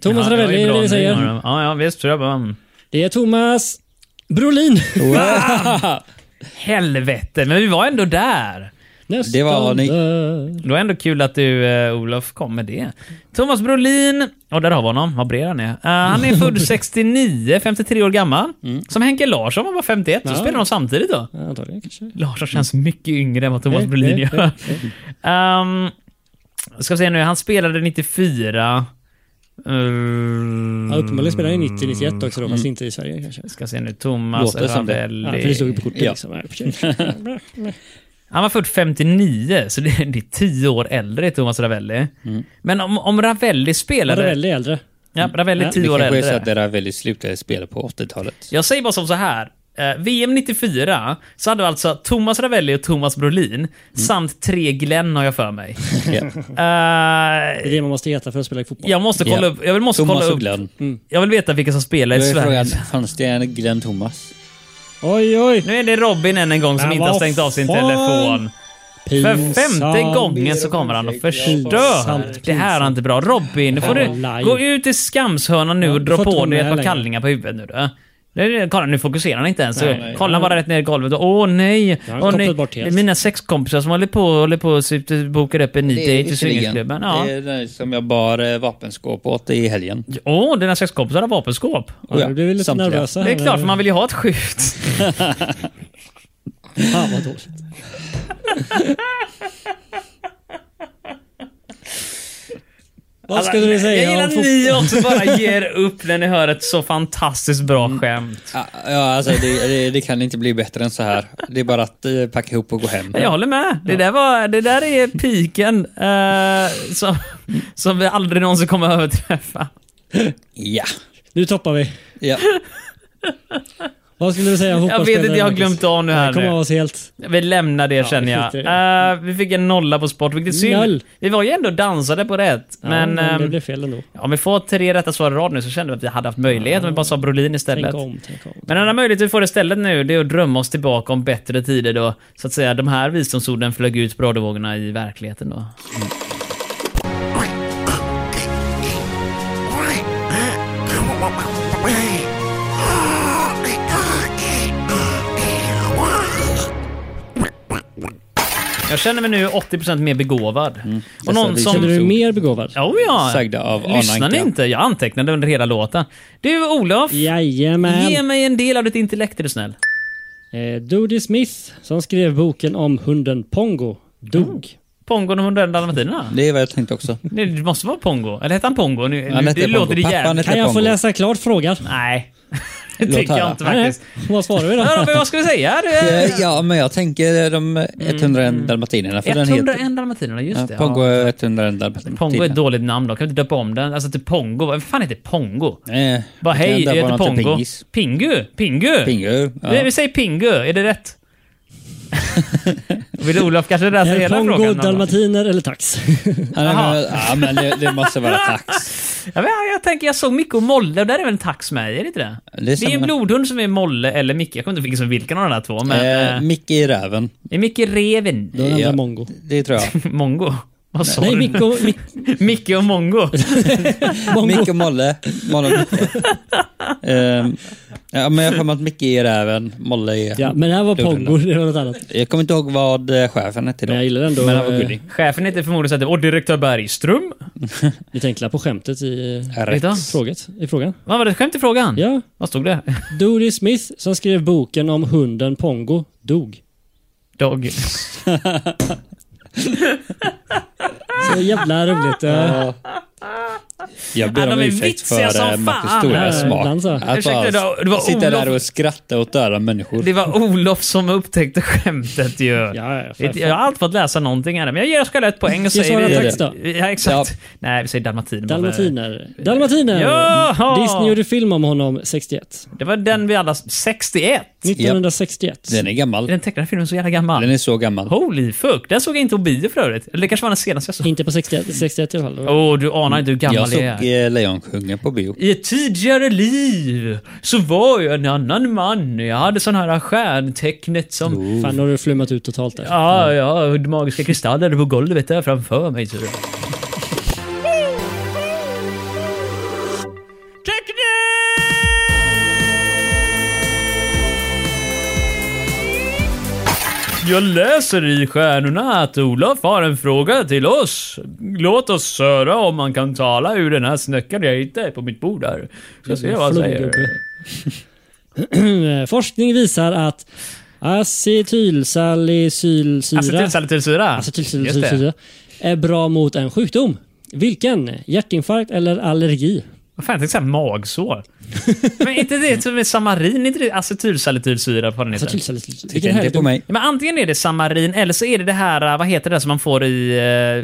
Speaker 1: Thomas
Speaker 3: Ja, det var
Speaker 1: Ravelli
Speaker 3: ju
Speaker 1: är
Speaker 3: bra
Speaker 1: det vi
Speaker 3: nu,
Speaker 1: säger.
Speaker 3: Göran. Ja, ja visst. tror jag bara.
Speaker 1: Det är Thomas Brolin.
Speaker 3: Helvete, men vi var ändå där.
Speaker 1: Nästan
Speaker 5: Det var ni.
Speaker 1: där.
Speaker 3: Det var ändå kul att du, eh, Olof, kom med det. Thomas Brolin, och där har vi honom, vad bred han är. Eh, han är född 69, 53 år gammal.
Speaker 5: Mm.
Speaker 3: Som Henke Larsson, han var 51, så
Speaker 1: Ja.
Speaker 3: spelar de samtidigt då.
Speaker 1: Ja, Antagligen kanske.
Speaker 3: Larsson känns mycket yngre än vad Thomas
Speaker 1: Eh,
Speaker 3: Brolin
Speaker 1: eh,
Speaker 3: gör. Ehm, ska vi se nu, han spelade Eh, 94.
Speaker 1: Ja,
Speaker 3: Uh,
Speaker 1: uppenbarligen spelade han i 90-91 också då,
Speaker 3: Mm.
Speaker 1: fast inte i Sverige kanske.
Speaker 3: ska se nu, Thomas
Speaker 5: Låter som det.
Speaker 1: Ja, för det
Speaker 3: Ravelli.
Speaker 1: stod ju på kortet
Speaker 5: Ja.
Speaker 1: liksom. Ja, i och för sig.
Speaker 3: Han var född 59, så det, det är 10 år äldre än Thomas Ravelli. Men om, om Ravelli spelade...
Speaker 1: Mm. Ravelli är äldre.
Speaker 3: Ja, Ravelli är
Speaker 1: Ja,
Speaker 3: 10
Speaker 5: Det
Speaker 3: år
Speaker 5: kanske är så
Speaker 3: äldre.
Speaker 5: att det där väldigt slutade spela på 80-talet.
Speaker 3: Jag säger bara som så här. Eh, VM 94 så hade vi alltså Thomas Ravelli och Thomas Brolin
Speaker 1: Mm.
Speaker 3: samt tre Glenn har jag för mig.
Speaker 5: Ja.
Speaker 1: Det är
Speaker 3: Eh,
Speaker 1: det man måste heta för att spela i fotboll.
Speaker 3: jag måste kolla
Speaker 5: Ja.
Speaker 3: upp. Jag vill måste
Speaker 5: Thomas
Speaker 3: kolla
Speaker 5: och
Speaker 3: upp.
Speaker 5: Glenn.
Speaker 3: Jag vill veta vilka som spelar i
Speaker 5: Då är
Speaker 3: Sverige.
Speaker 5: frågan, fanns det en Glenn Thomas?
Speaker 1: Oj, oj!
Speaker 3: Nu är det Robin än en gång som
Speaker 1: Men
Speaker 3: inte har
Speaker 1: vad
Speaker 3: stängt av sin
Speaker 1: fan?
Speaker 3: telefon. För femte gången så kommer han och förstör.
Speaker 1: Pinsamt,
Speaker 3: Det här är inte bra. Robin, nu får
Speaker 1: Live.
Speaker 3: du gå ut i skamshörnan nu
Speaker 1: Ja,
Speaker 3: och
Speaker 1: du
Speaker 3: dra
Speaker 1: får inte
Speaker 3: på
Speaker 1: vara
Speaker 3: dig ett
Speaker 1: med
Speaker 3: par
Speaker 1: längre.
Speaker 3: kallingar på huvudet nu då. Nej, nej, Kolla, nu fokuserar han inte ens.
Speaker 1: Nej, nej.
Speaker 3: Kolla bara rätt ner i golvet. Åh nej!
Speaker 1: har
Speaker 3: Åh,
Speaker 1: kopplat
Speaker 3: nej.
Speaker 1: bort helt.
Speaker 3: Mina sexkompisar som håller på, håller på och sitter- bokar upp en ny dejt i swingersklubben. Ja.
Speaker 5: Det är den som jag bar eh, vapenskåp åt i helgen.
Speaker 3: Åh, dina sexkompisar har vapenskåp.
Speaker 1: Ja, nu blir vi lite
Speaker 5: Samtliga.
Speaker 1: nervösa.
Speaker 3: Det är klart, för man vill ju ha ett skjut.
Speaker 1: Fan vad dåligt. vad
Speaker 3: Alla-
Speaker 1: skulle du
Speaker 3: Alltså, Jag
Speaker 1: säga
Speaker 3: gillar
Speaker 1: om
Speaker 3: att ni också bara ger upp när ni hör ett så fantastiskt bra skämt.
Speaker 5: Ja, ja, alltså det, det, det kan inte bli bättre än så här. Det är bara att eh, packa ihop och gå hem.
Speaker 3: Jag håller med. Det, där, var, det där är piken eh, som, som vi aldrig någonsin kommer att överträffa.
Speaker 5: Ja.
Speaker 1: Nu toppar vi.
Speaker 5: ja.
Speaker 1: Vad skulle du säga om
Speaker 3: Jag vet
Speaker 1: fotbollsspelare?
Speaker 3: inte, jag har glömt av nu här
Speaker 1: Kom av
Speaker 3: nu.
Speaker 1: oss helt.
Speaker 3: Vi lämnar det känner jag.
Speaker 1: skiter i det.
Speaker 3: Eh, vi fick en nolla på sport, vilket är synd.
Speaker 1: Noll.
Speaker 3: Vi var ju ändå dansade på rätt.
Speaker 1: Ja,
Speaker 3: men
Speaker 1: men det
Speaker 3: ehm,
Speaker 1: blev fel ändå.
Speaker 3: om vi får tre rätta svar i rad nu så kände vi att vi hade haft möjlighet om vi bara sa Brolin istället.
Speaker 1: Tänk om, tänk om.
Speaker 3: Men den enda möjligheten vi får istället nu det är att drömma oss tillbaka om bättre tider då. Så att säga, de här visdomsorden flög ut på radiovågorna i verkligheten då. Jag känner mig nu 80% mer begåvad. Och någon
Speaker 5: det
Speaker 3: som...
Speaker 1: Känner du dig mer begåvad?
Speaker 3: Oh, ja.
Speaker 5: Mm. Sagda av
Speaker 3: Lyssnar ni
Speaker 5: Ananka.
Speaker 3: inte? Jag antecknade under hela låten. Du Olof,
Speaker 1: Jajamän.
Speaker 3: ge mig en del av ditt intellekt är du snäll.
Speaker 1: Eh, Dodie Smith, som skrev boken om hunden Pongo,
Speaker 3: Mm.
Speaker 1: dog.
Speaker 3: Pongon och 101 dalmatinerna.
Speaker 5: Det är vad jag tänkte också.
Speaker 3: Nej, Det måste vara Pongo. Eller hette han Pongo? Nu,
Speaker 5: Han
Speaker 3: nu,
Speaker 5: hette
Speaker 3: det
Speaker 5: Pongo.
Speaker 3: låter det
Speaker 5: Pappan
Speaker 3: jävligt...
Speaker 5: hette-
Speaker 1: Kan jag få
Speaker 5: Pongo.
Speaker 1: läsa klart frågan?
Speaker 3: Nej. Det
Speaker 5: Låt
Speaker 3: tycker jag
Speaker 5: höra.
Speaker 3: inte
Speaker 1: Nej,
Speaker 3: faktiskt.
Speaker 1: vad svarar vi
Speaker 3: Ja,
Speaker 1: då?
Speaker 3: Robin, vad ska vi säga? Du, eh,
Speaker 5: Eh, Ja, men jag tänker de 101 dalmatinerna. För den
Speaker 3: 101
Speaker 5: heter...
Speaker 3: dalmatinerna,
Speaker 5: Ja,
Speaker 3: Mm. just det.
Speaker 5: Pongo
Speaker 3: ja. Alltså,
Speaker 5: 101 dalmatinerna.
Speaker 3: Pongo är ett dåligt namn då. Kan vi inte döpa om den? Alltså till Pongo. Vad fan heter Pongo?
Speaker 5: Nej,
Speaker 3: Bara
Speaker 5: vi kan
Speaker 3: hej, det
Speaker 5: döpa
Speaker 3: heter
Speaker 5: honom till
Speaker 3: Pongo.
Speaker 5: Pingis.
Speaker 3: Pingu? Pingu?
Speaker 5: Pingu.
Speaker 3: Vi,
Speaker 5: Ja.
Speaker 3: vi säger Pingu. Är det rätt? Vill Olof kanske läsa
Speaker 1: Är det
Speaker 3: hela
Speaker 1: Pongo,
Speaker 3: frågan? Dalmat-
Speaker 1: dalmatiner eller tax?
Speaker 5: Han är-
Speaker 3: Jaha.
Speaker 5: ja, men det, det måste vara tax.
Speaker 3: jag, jag tänker, jag såg Micke och Molle och där är väl en tax med? Är det inte det?
Speaker 5: Det är
Speaker 3: Det är en
Speaker 5: samma-
Speaker 3: blodhund som är Molle eller Micke. Jag kommer inte ihåg vilken- vilken av de där två. Men,
Speaker 5: Eh,
Speaker 3: eh,
Speaker 5: Micke i räven.
Speaker 3: Det är Micke Reven.
Speaker 1: Då är
Speaker 5: Ja.
Speaker 1: det ja. Mongo.
Speaker 5: Det tror jag.
Speaker 3: Mongo? Vad sa
Speaker 1: Nej,
Speaker 3: du?
Speaker 1: Mikko, Mik
Speaker 3: Micke och Mongo.
Speaker 1: Mongo.
Speaker 5: Micke och Molle. Molle och Micke. Ehm, ja, men jag kommer att Micke är räven. Molle är...
Speaker 1: Ja, men det här var Pongo, det var något annat.
Speaker 5: Jag kommer inte ihåg vad eh, chefen hette då.
Speaker 1: Men jag gillar ändå,
Speaker 5: Men han var
Speaker 1: eh,
Speaker 5: gullig.
Speaker 3: Chefen heter förmodligen så här typ, åh direktör Bergström.
Speaker 1: Ni tänkte på skämtet i,
Speaker 5: Rätt.
Speaker 3: Vet
Speaker 1: fråget, i frågan?
Speaker 3: Vad var det? Skämt i frågan?
Speaker 1: Ja.
Speaker 3: Vad stod det?
Speaker 1: Doris Smith, som skrev boken om hunden Pongo, dog.
Speaker 3: Dog.
Speaker 1: eh. Så jävla roligt. Ja.
Speaker 5: Jag ber
Speaker 3: Ja, de
Speaker 5: om
Speaker 3: är
Speaker 5: ursäkt för
Speaker 3: vitsiga som
Speaker 5: eh, Marcus
Speaker 3: fan.
Speaker 5: stora
Speaker 1: Ja,
Speaker 5: smak.
Speaker 1: dansa.
Speaker 5: Att
Speaker 3: Ursäkta,
Speaker 5: bara
Speaker 3: det var- det var
Speaker 5: sitta där
Speaker 3: Olof.
Speaker 5: och skratta åt döda människor.
Speaker 3: Det var Olof som upptäckte skämtet ju.
Speaker 1: Ja, ja, för
Speaker 3: jag har alltid fått läsa någonting här, men jag ger oss själva ett poäng. Och
Speaker 1: Ge
Speaker 3: säger
Speaker 1: Sara
Speaker 3: vi-
Speaker 1: text då.
Speaker 3: Ja, exakt. Nej, vi säger dalmatiner.
Speaker 1: Dalmatiner. Dalmatiner!
Speaker 3: Ja!
Speaker 1: Disney gjorde film om honom 61.
Speaker 3: Det var den vi alla... 61?
Speaker 1: 1961.
Speaker 5: Den är
Speaker 3: Är
Speaker 5: gammal.
Speaker 3: den tecknade filmen så jävla gammal?
Speaker 5: Den är så gammal.
Speaker 3: Holy fuck! Den såg jag inte på bio för övrigt. Eller det kanske var den senaste jag såg.
Speaker 1: Inte på 61, 61 i alla fall.
Speaker 3: Åh, oh, du anar inte hur gammal
Speaker 5: Jag såg
Speaker 3: jag är.
Speaker 5: eh, Lejonkungen på bio.
Speaker 3: I ett tidigare liv så var jag en annan man. Jag hade sån här stjärntecknet som...
Speaker 1: Fan, nu har du flummat ut totalt där.
Speaker 3: Ja, ja, de magiska kristallerna på golvet där framför mig. Så. Jag läser i stjärnorna att Olof har en fråga till oss. Låt oss höra om man kan tala ur den här snäckan jag hittade på mitt bord här. Ska se vad han säger.
Speaker 1: Flumgubbe. Mm, eh, Forskning visar att
Speaker 3: Alltså,
Speaker 1: acetylsalicylsyra
Speaker 3: Acetylsalicylsyra.
Speaker 1: Alltså, typ
Speaker 3: Just det.
Speaker 1: acetylsalicylsyra är bra mot en sjukdom. Vilken? Hjärtinfarkt eller allergi?
Speaker 3: Vad fan, jag tänkte säga magsår. Men inte det som är samarin, inte det acetylsalicylsyra på den heter?
Speaker 1: Acetylsalicylsyra.
Speaker 5: Titta
Speaker 1: Alltså, Vilken
Speaker 5: inte på
Speaker 1: härlig
Speaker 5: mig.
Speaker 3: Ja, Men antingen är det samarin eller så är det det här, eh, vad heter det som man får i,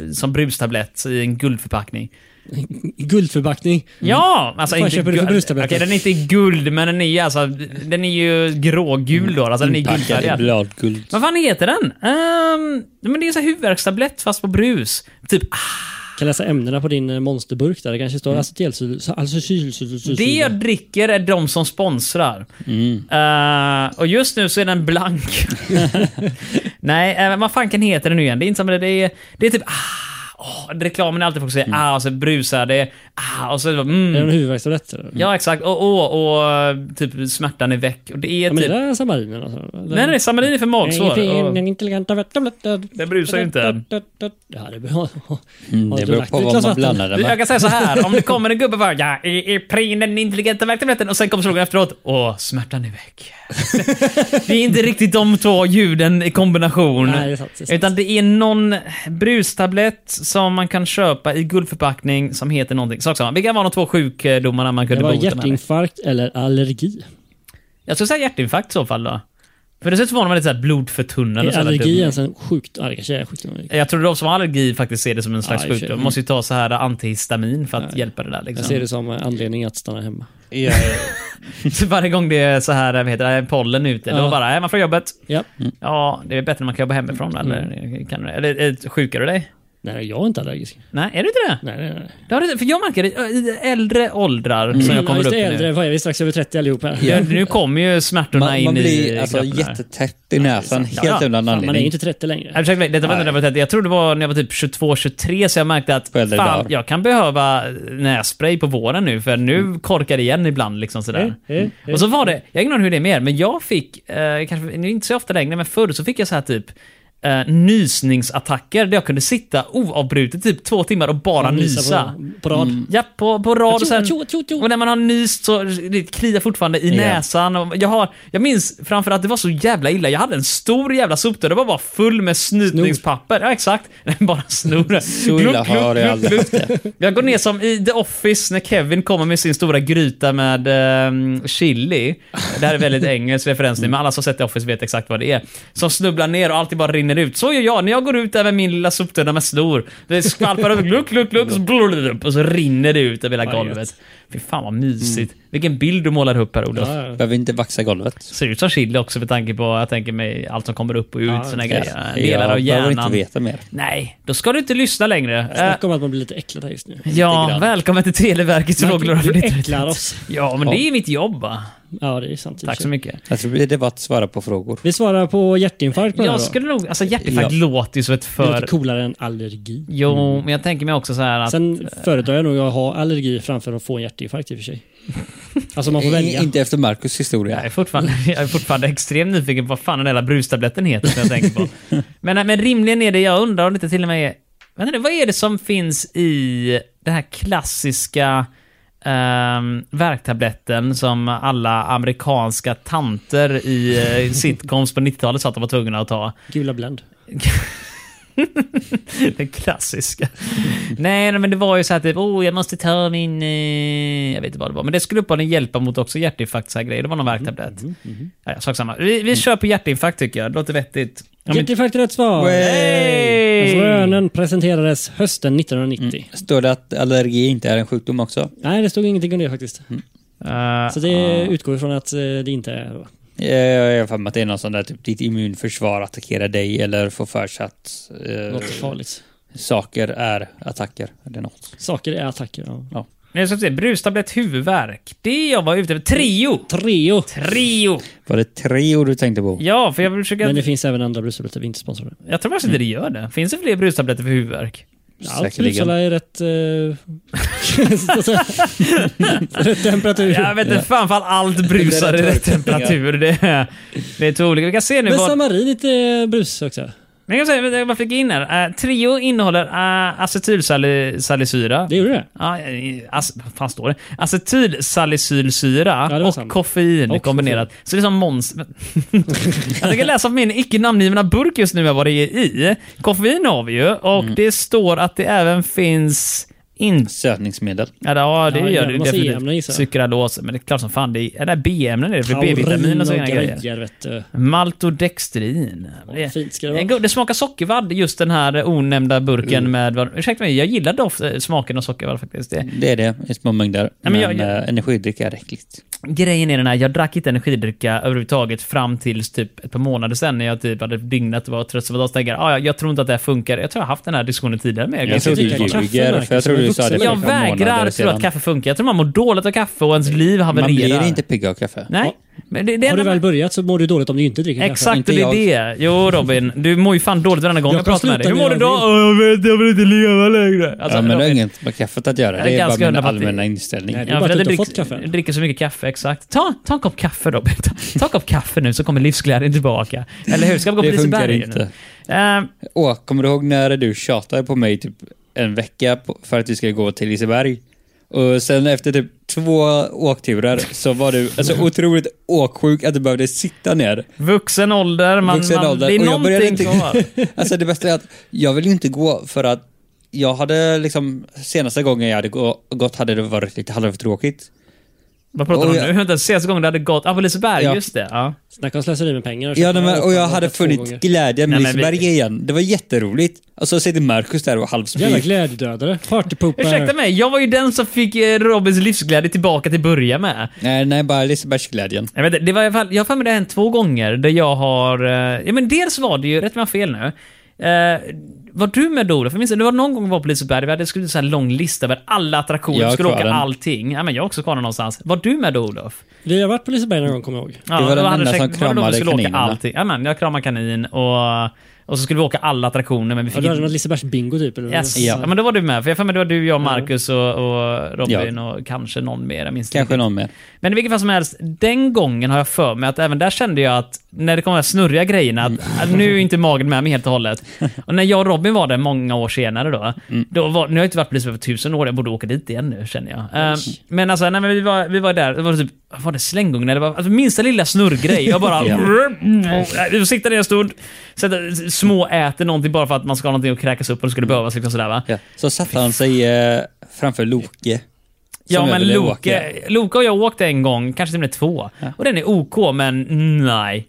Speaker 3: eh, som brustablett i en guldförpackning?
Speaker 1: guldförbackning.
Speaker 3: Ja! Alltså
Speaker 1: Mm. Vad fan köper du för
Speaker 3: guld-
Speaker 1: brustabletter?
Speaker 3: Okej, den är inte i guld, men den är ju alltså, den är ju grågul då, alltså den är
Speaker 1: Mm,
Speaker 5: Packad i
Speaker 3: guldfärgad.
Speaker 5: bladguld.
Speaker 3: Vad fan heter den? Ehm, men det är så här huvudvärkstablett fast på brus. Typ
Speaker 1: Kan läsa ämnena på din eh, monsterburk där. Det kanske står alltså, acetylsalicylsyra.
Speaker 3: Mm. Det jag dricker är de som sponsrar.
Speaker 1: Mm.
Speaker 3: Eh, och just nu så är den blank. Nej, eh, men vad fanken heter den nu igen? Det är inte som det, det är, det är typ ah, åh, reklamen är alltid folk säger ah, och så brusar det, ah, och så
Speaker 1: Mm. Är det en
Speaker 3: mm.
Speaker 1: huvudvärkstabletter?
Speaker 3: Ja, exakt. Och, och, och typ smärtan är väck. Och det är
Speaker 1: Ja, men
Speaker 3: typ...
Speaker 1: det där är samarinen alltså.
Speaker 3: Nej, nej, samarin är för magsår. Och
Speaker 1: Den intelligenta värtabletten.
Speaker 3: det brusar ju inte.
Speaker 1: Ja, det beror,
Speaker 5: Mm, Det beror på vad man blandar den
Speaker 3: Jag
Speaker 5: med.
Speaker 3: kan säga så här, om det kommer en gubbe och bara ja, i, i prin den intelligenta verkligheten och sen kommer slogan efteråt. Åh, smärtan är väck. det är inte riktigt de två ljuden i kombination.
Speaker 1: Nej, det är sant, det är sant.
Speaker 3: Utan det är någon brustablett som man kan köpa i guldförpackning som heter någonting. Sak samma. Vilka var de två sjukdomarna man
Speaker 1: Det
Speaker 3: kunde
Speaker 1: var
Speaker 3: bota med?
Speaker 1: hjärtinfarkt eller allergi.
Speaker 3: Jag skulle säga hjärtinfarkt i så fall då. För det ser ut som om man är lite så här blodförtunnande.
Speaker 1: Är
Speaker 3: och så här
Speaker 1: allergi alltså.
Speaker 3: dumt.
Speaker 1: ens en sjukdom? Ja, det kanske är sjukdom.
Speaker 3: Jag tror de som har allergi faktiskt ser det som en slags
Speaker 1: Ja, i och för sig.
Speaker 3: sjukdom. måste ju ta så här antihistamin för att hjälpa det där. Liksom.
Speaker 1: Jag ser det som eh, anledning att stanna hemma.
Speaker 5: Jag,
Speaker 3: Så varje gång det är så här, vad heter det, pollen ute,
Speaker 1: Ja.
Speaker 3: då bara, är man från jobbet?
Speaker 1: Ja.
Speaker 3: Ja, det är bättre när man kan jobba hemifrån. Eller, kan, du- eller, eller sjukar du dig?
Speaker 1: Nej, jag är inte allergisk.
Speaker 3: Nej, är du inte det?
Speaker 1: Nej, nej, nej.
Speaker 3: det har du, för jag märker det eh, i äldre åldrar som jag
Speaker 1: Mm. Ja,
Speaker 3: kommer
Speaker 1: just
Speaker 3: upp
Speaker 1: det,
Speaker 3: i
Speaker 1: äldre.
Speaker 3: nu.
Speaker 1: Vad är vi? Strax över 30 allihop här.
Speaker 3: Ja, nu kommer ju smärtorna
Speaker 5: Man,
Speaker 3: in
Speaker 5: man
Speaker 3: i
Speaker 5: blir alltså
Speaker 3: kroppen här.
Speaker 5: jättetäppt i näsan
Speaker 3: Ja,
Speaker 5: helt
Speaker 3: ja.
Speaker 5: utan
Speaker 1: Fan, man är ju
Speaker 5: anledning.
Speaker 1: inte 30
Speaker 3: Nej,
Speaker 1: längre.
Speaker 3: Ursäkta mig, detta var inte när jag var 30. Jag tror det var när jag var typ 22-23 så jag märkte att
Speaker 5: På äldre
Speaker 3: fan,
Speaker 5: dagar.
Speaker 3: jag kan behöva nässpray på våren nu för nu korkar det igen ibland. Liksom sådär.
Speaker 1: Mm.
Speaker 3: Och så var det, jag vet inte hur det är mer, men jag fick, eh, kanske nu inte så ofta längre, men förr så fick jag så här typ eh, nysningsattacker där jag kunde sitta oavbrutet typ två timmar och bara
Speaker 1: Nysa
Speaker 3: nysa.
Speaker 1: På, på rad.
Speaker 3: Ja, på, på rad och
Speaker 1: Atjo,
Speaker 3: sen...
Speaker 1: atjo, atjo, atjo.
Speaker 3: Och när man har nyst så det kliar fortfarande i
Speaker 5: Ja.
Speaker 3: näsan. Och jag, har, jag minns framförallt, det var så jävla illa. Jag hade en stor jävla soptunna. Det var bara full med snytningspapper. Ja, exakt. Nej, bara snor.
Speaker 5: Så
Speaker 3: Gluck,
Speaker 5: illa
Speaker 3: gluck,
Speaker 5: har jag
Speaker 3: gluck,
Speaker 5: aldrig
Speaker 3: gluck.
Speaker 5: haft det.
Speaker 3: Jag går ner som i The Office när Kevin kommer med sin stora gryta med ehm, chili. Det här är väldigt engelsk referens nu, men alla som sett The Office vet exakt vad det är. Som snubblar ner och allting bara rinner ut. Så gör jag när jag går ut där med min lilla soptunna med snor. Det skvalpar över, gluck, gluck, gluck, och så, blurr, och så rinner det ut över hela golvet. Fy fan vad mysigt. Vilken bild du målar upp här Olof.
Speaker 1: Ja, ja.
Speaker 5: Behöver inte vaxa golvet.
Speaker 3: Ser ut som chili också med tanke på, jag tänker mig, allt som kommer upp och ut. Ja, såna grejer. Delar av
Speaker 5: Jag behöver inte
Speaker 3: hjärnan.
Speaker 5: veta mer.
Speaker 3: Nej, då ska du inte lyssna längre. Eh,
Speaker 1: Snacka om att man blir lite äcklad här just nu.
Speaker 3: Ja,
Speaker 5: grann.
Speaker 3: välkommen till Televerkets frågelåda för
Speaker 1: Du
Speaker 3: ditt
Speaker 1: äcklar oss.
Speaker 3: Ja, men det är mitt jobb va?
Speaker 1: Ja, det är sant. i och
Speaker 3: Tack så
Speaker 1: för sig.
Speaker 3: mycket.
Speaker 5: Jag tror det var att svara på frågor.
Speaker 1: Vi svarar på hjärtinfarkt på den
Speaker 3: Jag
Speaker 1: här då.
Speaker 3: skulle nog, alltså hjärtinfarkt
Speaker 5: Ja.
Speaker 3: låter Mm. ju som ett
Speaker 1: Det är lite
Speaker 3: för...
Speaker 1: coolare än allergi.
Speaker 3: Jo, men jag tänker mig också så här att...
Speaker 1: Sen föredrar jag nog att ha allergi framför att få en hjärtinfarkt i och för sig. Alltså man får välja.
Speaker 5: I- Inte efter Markus
Speaker 3: jag, är
Speaker 5: historia.
Speaker 3: fortfarande, jag är fortfarande extremt nyfiken på vad fan den där jävla brustabletten heter som jag tänker på. Men, men rimligen är det, jag undrar om det inte till och med är... Vänta nu, vad är det som finns i den här klassiska um, värktabletten som alla amerikanska tanter i eh, sitcoms på 90-talet sa att de var tvungna att ta?
Speaker 1: Gula Blend.
Speaker 3: Den klassiska. Nej, nej, men det var ju så här typ, oh, jag måste ta min... eh," Jag vet inte vad det var. Men det skulle uppenbarligen hjälpa mot också hjärtinfarkt, så här grejer. Det var någon
Speaker 1: Mm,
Speaker 3: värktablett. Ja, sak samma. Vi, vi kör på hjärtinfarkt tycker jag. Det låter vettigt. Ja, men,
Speaker 1: Getty Faktor rätt svar! Alltså, Rönen presenterades hösten 1990.
Speaker 3: Mm.
Speaker 5: Står det att allergi inte är en sjukdom också?
Speaker 1: Nej, det stod ingenting om det faktiskt.
Speaker 3: eh,
Speaker 1: Så det utgår från att eh, det inte är... va?
Speaker 5: Eh, Jag har för mig att det är någon sån där typ ditt immunförsvar attackerar dig eller får för sig att eh,
Speaker 1: Något farligt.
Speaker 5: saker är attacker. Eller något.
Speaker 1: Saker är attacker. Ja.
Speaker 3: nu ska vi se. Brustablett, huvudvärk. Det jag var ute efter. Trio!
Speaker 1: Trio!
Speaker 3: Trio!
Speaker 5: Var det tre ord du tänkte på?
Speaker 3: Ja, för jag vill försöka...
Speaker 1: Men det finns även andra brustabletter, vi är inte sponsrade.
Speaker 3: Jag tror faktiskt inte det gör det. Finns det fler brustabletter för huvudvärk?
Speaker 1: Allt
Speaker 5: Säkerligen.
Speaker 1: brusala är rätt... Eh, rätt temperatur.
Speaker 3: Jag vet inte fan fall allt brusar i rätt temperatur. Det är, det är två olika. Vi kan se nu
Speaker 1: Men
Speaker 3: vad...
Speaker 1: samarin lite eh, brus också.
Speaker 3: Men jag kan säga vad jag fick in här. Eh, trio innehåller uh, acetylsalicyra.
Speaker 1: Det gjorde det.
Speaker 3: Ja, eh, ac- vad fan står det? Acetylsalicylsyra
Speaker 1: Ja, det var
Speaker 3: och
Speaker 1: samma.
Speaker 3: koffein
Speaker 1: Och
Speaker 3: kombinerat. Så det är som monster. jag tänker läsa på min icke namngivna burk just nu här vad det är i. Koffein har vi ju och
Speaker 1: Mm.
Speaker 3: det står att det även finns in
Speaker 5: Sötningsmedel.
Speaker 3: Ja, det, ja, det
Speaker 1: Ja,
Speaker 3: gör
Speaker 1: jävla
Speaker 3: det ju
Speaker 1: massa
Speaker 3: definitivt.
Speaker 1: E-ämnen gissar jag.
Speaker 3: Cykralos, men det är klart som fan. Det är, är det B-ämnen är det, för B-vitamin
Speaker 1: Taurin
Speaker 3: och sådana grejer.
Speaker 1: vet du.
Speaker 3: Maltodextrin. Det,
Speaker 1: fint ska det
Speaker 3: det, är
Speaker 1: vara.
Speaker 3: god- det smakar sockervadd, just den här onämnda burken
Speaker 5: Mm.
Speaker 3: med... vad- Ursäkta mig, jag gillar doft, eh, smaken av sockervadd faktiskt. Det,
Speaker 5: Det är det i små mängder.
Speaker 3: Ja,
Speaker 5: Men,
Speaker 3: men jag- jag-
Speaker 5: eh, energidryck är äckligt.
Speaker 3: Grejen är den här, jag drack inte energidricka överhuvudtaget fram tills typ ett par månader sedan när jag typ hade dygnat och var trött. Så var jag tänkte, ah, ja, jag tror inte att det här funkar. Jag tror jag har haft den här diskussionen tidigare med er.
Speaker 5: Jag
Speaker 3: ganska
Speaker 5: tror du
Speaker 1: dricka kaffe,
Speaker 5: ljuger,
Speaker 1: Marcus,
Speaker 5: för jag tror
Speaker 1: som en
Speaker 5: du sa det
Speaker 1: vuxen
Speaker 5: för
Speaker 3: Jag
Speaker 5: ett par
Speaker 3: vägrar
Speaker 5: månader
Speaker 3: tro att
Speaker 5: sedan.
Speaker 3: kaffe funkar. Jag tror man mår dåligt av kaffe och ens liv havererar.
Speaker 5: Man blir inte pigg av kaffe.
Speaker 3: Nej. Men det, det
Speaker 1: Har
Speaker 3: enda
Speaker 1: du
Speaker 3: man-
Speaker 1: väl börjat så mår du dåligt om du inte dricker kaffe.
Speaker 3: Exakt,
Speaker 5: Inte
Speaker 3: och det är
Speaker 5: jag.
Speaker 3: det. Jo Robin, du mår ju fan dåligt varenda gång
Speaker 1: Jag
Speaker 3: jag
Speaker 1: kan
Speaker 3: pratar med dig. Hur
Speaker 1: sluta
Speaker 3: mår du
Speaker 1: med
Speaker 3: då?
Speaker 1: det.
Speaker 3: "Åh, jag vet, jag vill inte leva längre. Alltså,
Speaker 5: ja, men det har
Speaker 3: Robin,
Speaker 5: inget med kaffet att göra.
Speaker 3: det är
Speaker 5: Det är
Speaker 3: ganska
Speaker 5: bara min
Speaker 3: underfattigt.
Speaker 5: allmänna inställning.
Speaker 1: Nej, det
Speaker 3: Ja,
Speaker 1: är
Speaker 3: för
Speaker 1: bara
Speaker 3: att jag
Speaker 1: att du inte
Speaker 3: drick,
Speaker 1: fått kaffe.
Speaker 3: dricker så mycket kaffe, exakt. Ta, ta en kopp kaffe Robin. Ta, ta en kopp kaffe nu så kommer livsglädjen tillbaka. Eller hur? Ska vi gå på
Speaker 5: Det funkar
Speaker 3: Liseberg?
Speaker 5: inte.
Speaker 3: Uh,
Speaker 5: Åh, kommer du ihåg när du tjatade på mig typ en vecka på, för att vi skulle gå till Liseberg? Och sen efter typ två åkturer så var du alltså, otroligt åksjuk att du behövde sitta ner.
Speaker 3: vuxen ålder, man,
Speaker 5: vuxen
Speaker 3: man,
Speaker 5: ålder.
Speaker 3: det är
Speaker 5: Och jag började
Speaker 3: någonting kvar.
Speaker 5: Alltså det bästa är att jag vill ju inte gå för att jag hade liksom, senaste gången jag hade gå- gått hade det varit lite halvtråkigt.
Speaker 3: Vad pratar du om
Speaker 5: Och
Speaker 3: nu?
Speaker 5: jag-
Speaker 3: Vänta, senaste gången det hade gått... Ah, på Liseberg,
Speaker 5: Ja.
Speaker 3: just det. Ja.
Speaker 1: Snacka om slöseri med pengar.
Speaker 5: Ja, nej, men, och jag hade
Speaker 1: Två
Speaker 5: funnit
Speaker 1: gånger.
Speaker 5: glädjen med
Speaker 3: Nej, men vi-
Speaker 5: Liseberg igen. Det var jätteroligt. Och så sitter Marcus där och
Speaker 1: Jävla
Speaker 5: halvspyr.
Speaker 1: glädjedödare. Partypoopare.
Speaker 3: Ursäkta mig, jag var ju den som fick eh, Robins livsglädje tillbaka till börja med.
Speaker 5: Nej, nej, bara Lisebergsglädjen.
Speaker 3: Jag vet inte, det var i alla fall, jag har för mig det har hänt två gånger där jag har... Eh, ja men dels var det ju, rätt mig om jag har fel nu. Eh, var du med då Olof? Jag minns det, det var någon gång vi var på Liseberg, vi hade skrivit en sån här lång lista över alla attraktioner,
Speaker 5: Jag
Speaker 3: vi
Speaker 5: har
Speaker 3: skulle
Speaker 5: kvar
Speaker 3: åka
Speaker 5: den.
Speaker 3: allting. Ja, men jag har också kvar den någonstans. Var du med då Olof?
Speaker 1: Vi har varit på Liseberg någon gång, kommer jag ihåg.
Speaker 3: Ja,
Speaker 5: Du var
Speaker 3: då
Speaker 5: den
Speaker 3: hade
Speaker 5: enda
Speaker 3: det
Speaker 5: som
Speaker 3: säkert- var det då vi
Speaker 5: kramade
Speaker 3: skulle åka
Speaker 5: kaninerna.
Speaker 3: allting. Ja, men jag kramade kanin och, och så skulle vi åka alla attraktioner men vi
Speaker 1: Ja,
Speaker 3: fick
Speaker 1: du hade
Speaker 3: inte...
Speaker 1: något Lisebergsbingo typ? Eller?
Speaker 3: Yes.
Speaker 5: Ja. Mm.
Speaker 3: Ja. men då var du med. För jag har för mig det var du, jag, Marcus och, och Robin
Speaker 5: Ja.
Speaker 3: och kanske någon mer. Jag minns inte
Speaker 5: Kanske någon mer.
Speaker 3: Men i vilket fall som helst, den gången har jag för mig att även där kände jag att när det kom de här snurriga grejerna, att att nu är inte magen med mig helt och hållet. Och när jag och Robin var där många år senare då, då var, nu har jag inte varit på Liseberg på tusen år, jag borde åka dit igen nu känner jag. Ehm, men alltså, nej, men vi, var, vi var där, det var typ, var det slänggungan eller vad? Alltså, minsta lilla snurrgrej, jag bara...
Speaker 5: Ja.
Speaker 3: Jag siktade ner en stund, sätter- småäter någonting bara för att man ska ha någonting att kräkas upp och det skulle behövas liksom sådär va.
Speaker 5: Ja. Så satte han sig eh, framför Loke.
Speaker 3: Ja,
Speaker 5: Som jag
Speaker 3: men
Speaker 5: ville
Speaker 3: Loke, Loke och jag åkte en gång, kanske till och med två. Och den är OK, men nej.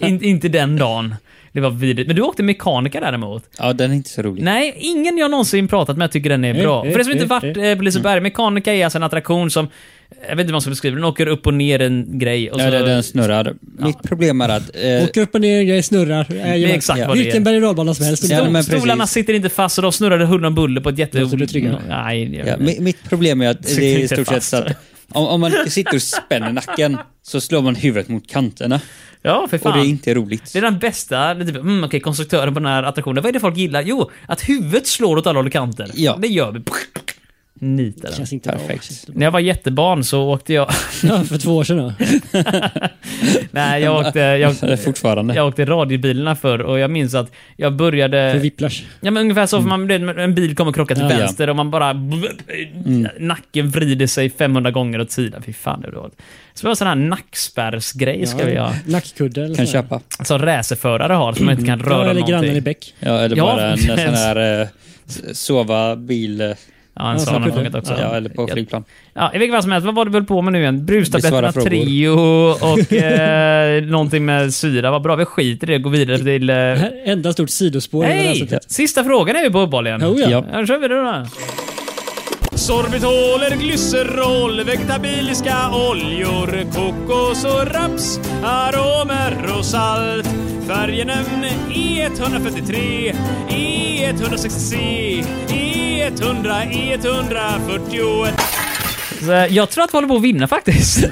Speaker 3: In, inte den dagen. Det var vidrigt. Men du åkte mekaniker däremot.
Speaker 5: Ja, den är inte så rolig.
Speaker 3: Nej, ingen jag någonsin pratat med tycker den är bra.
Speaker 1: eh,
Speaker 3: För det som inte
Speaker 1: eh,
Speaker 3: varit eh, på
Speaker 5: Mm.
Speaker 3: Liseberg, mekaniker är alltså en attraktion som, jag vet inte hur man ska beskriva den, åker upp och ner en grej. Och så,
Speaker 5: Ja, den, den snurrar. Mitt problem är att... Eh,
Speaker 1: Åker upp och ner, jag snurrar. Jajamän.
Speaker 3: exakt vad det är.
Speaker 1: Vilken berg och dalbana som helst.
Speaker 5: Ja, men
Speaker 3: stolarna
Speaker 5: precis.
Speaker 3: sitter inte fast och de snurrade huller om buller på ett jätte...
Speaker 1: Låter du tryggare?
Speaker 3: Nej, jag
Speaker 5: ja,
Speaker 3: vet inte.
Speaker 5: mi- mitt problem är att
Speaker 3: Sitter
Speaker 5: det är i
Speaker 3: inte
Speaker 5: stort sett
Speaker 3: fast.
Speaker 5: så att om, om man sitter och spänner nacken så slår man huvudet mot kanterna.
Speaker 3: ja, för
Speaker 5: Och
Speaker 3: fan.
Speaker 5: det är inte roligt.
Speaker 3: Det är den bästa, det är typ, mm, okej, konstruktören på den här attraktionen. Vad är det folk gillar? Jo, att huvudet slår åt alla håll och kanter.
Speaker 5: Ja.
Speaker 3: Det gör vi. Nita
Speaker 1: Det
Speaker 3: den.
Speaker 1: känns inte bra.
Speaker 5: Perfekt.
Speaker 1: Känns inte bra.
Speaker 3: När jag var jättebarn så åkte jag...
Speaker 1: Ja, för två år sedan då.
Speaker 3: Nej, jag åkte, jag,
Speaker 5: Det är fortfarande.
Speaker 3: jag åkte radiobilarna förr och jag minns att jag
Speaker 1: För
Speaker 3: började...
Speaker 1: whiplash.
Speaker 3: Ja, men ungefär så, för man, du vet, en bil kommer krocka till
Speaker 1: Ja. Mm.
Speaker 3: vänster och man bara... Nacken vrider sig 500 gånger åt sidan. Fy fan, det var dåligt. Så vi har sån här nackspärrsgrej ska vi ha.
Speaker 1: Nackkudde eller
Speaker 5: Kan
Speaker 1: sådär.
Speaker 5: köpa.
Speaker 3: Som racerförare har, som man inte kan
Speaker 1: Ja,
Speaker 3: röra
Speaker 1: eller grannen i
Speaker 3: någonting.
Speaker 1: bäck.
Speaker 5: Ja, eller
Speaker 3: Ja,
Speaker 5: bara en
Speaker 3: precis.
Speaker 5: sån här eh, s- sova bil... eh,
Speaker 3: Ja, en
Speaker 1: Ja,
Speaker 3: sån har
Speaker 1: särskilt
Speaker 3: man
Speaker 1: det.
Speaker 3: åkt också.
Speaker 5: Ja, eller på flygplan.
Speaker 3: Ja, I vilket fall som helst, vad var det väl på med nu igen? Brustabletterna
Speaker 5: Besvara frågor.
Speaker 3: Trio och eh, någonting med syra. Vad bra, vi skiter i det och går vidare till... Eh...
Speaker 1: Det här är enda stort sidospår. i det här
Speaker 3: Hej!
Speaker 1: avsnittet.
Speaker 3: Sista frågan är ju på uppehåll igen.
Speaker 1: Jo, ja.
Speaker 5: Ja.
Speaker 3: Ja, då kör vi det då.
Speaker 6: Sorbitoler, glycerol, vegetabiliska oljor, kokos och raps, aromer och salt. E Färgenämn E143, E E160, E E100, E141.
Speaker 3: Så, eh, jag tror att vi håller på att vinna faktiskt.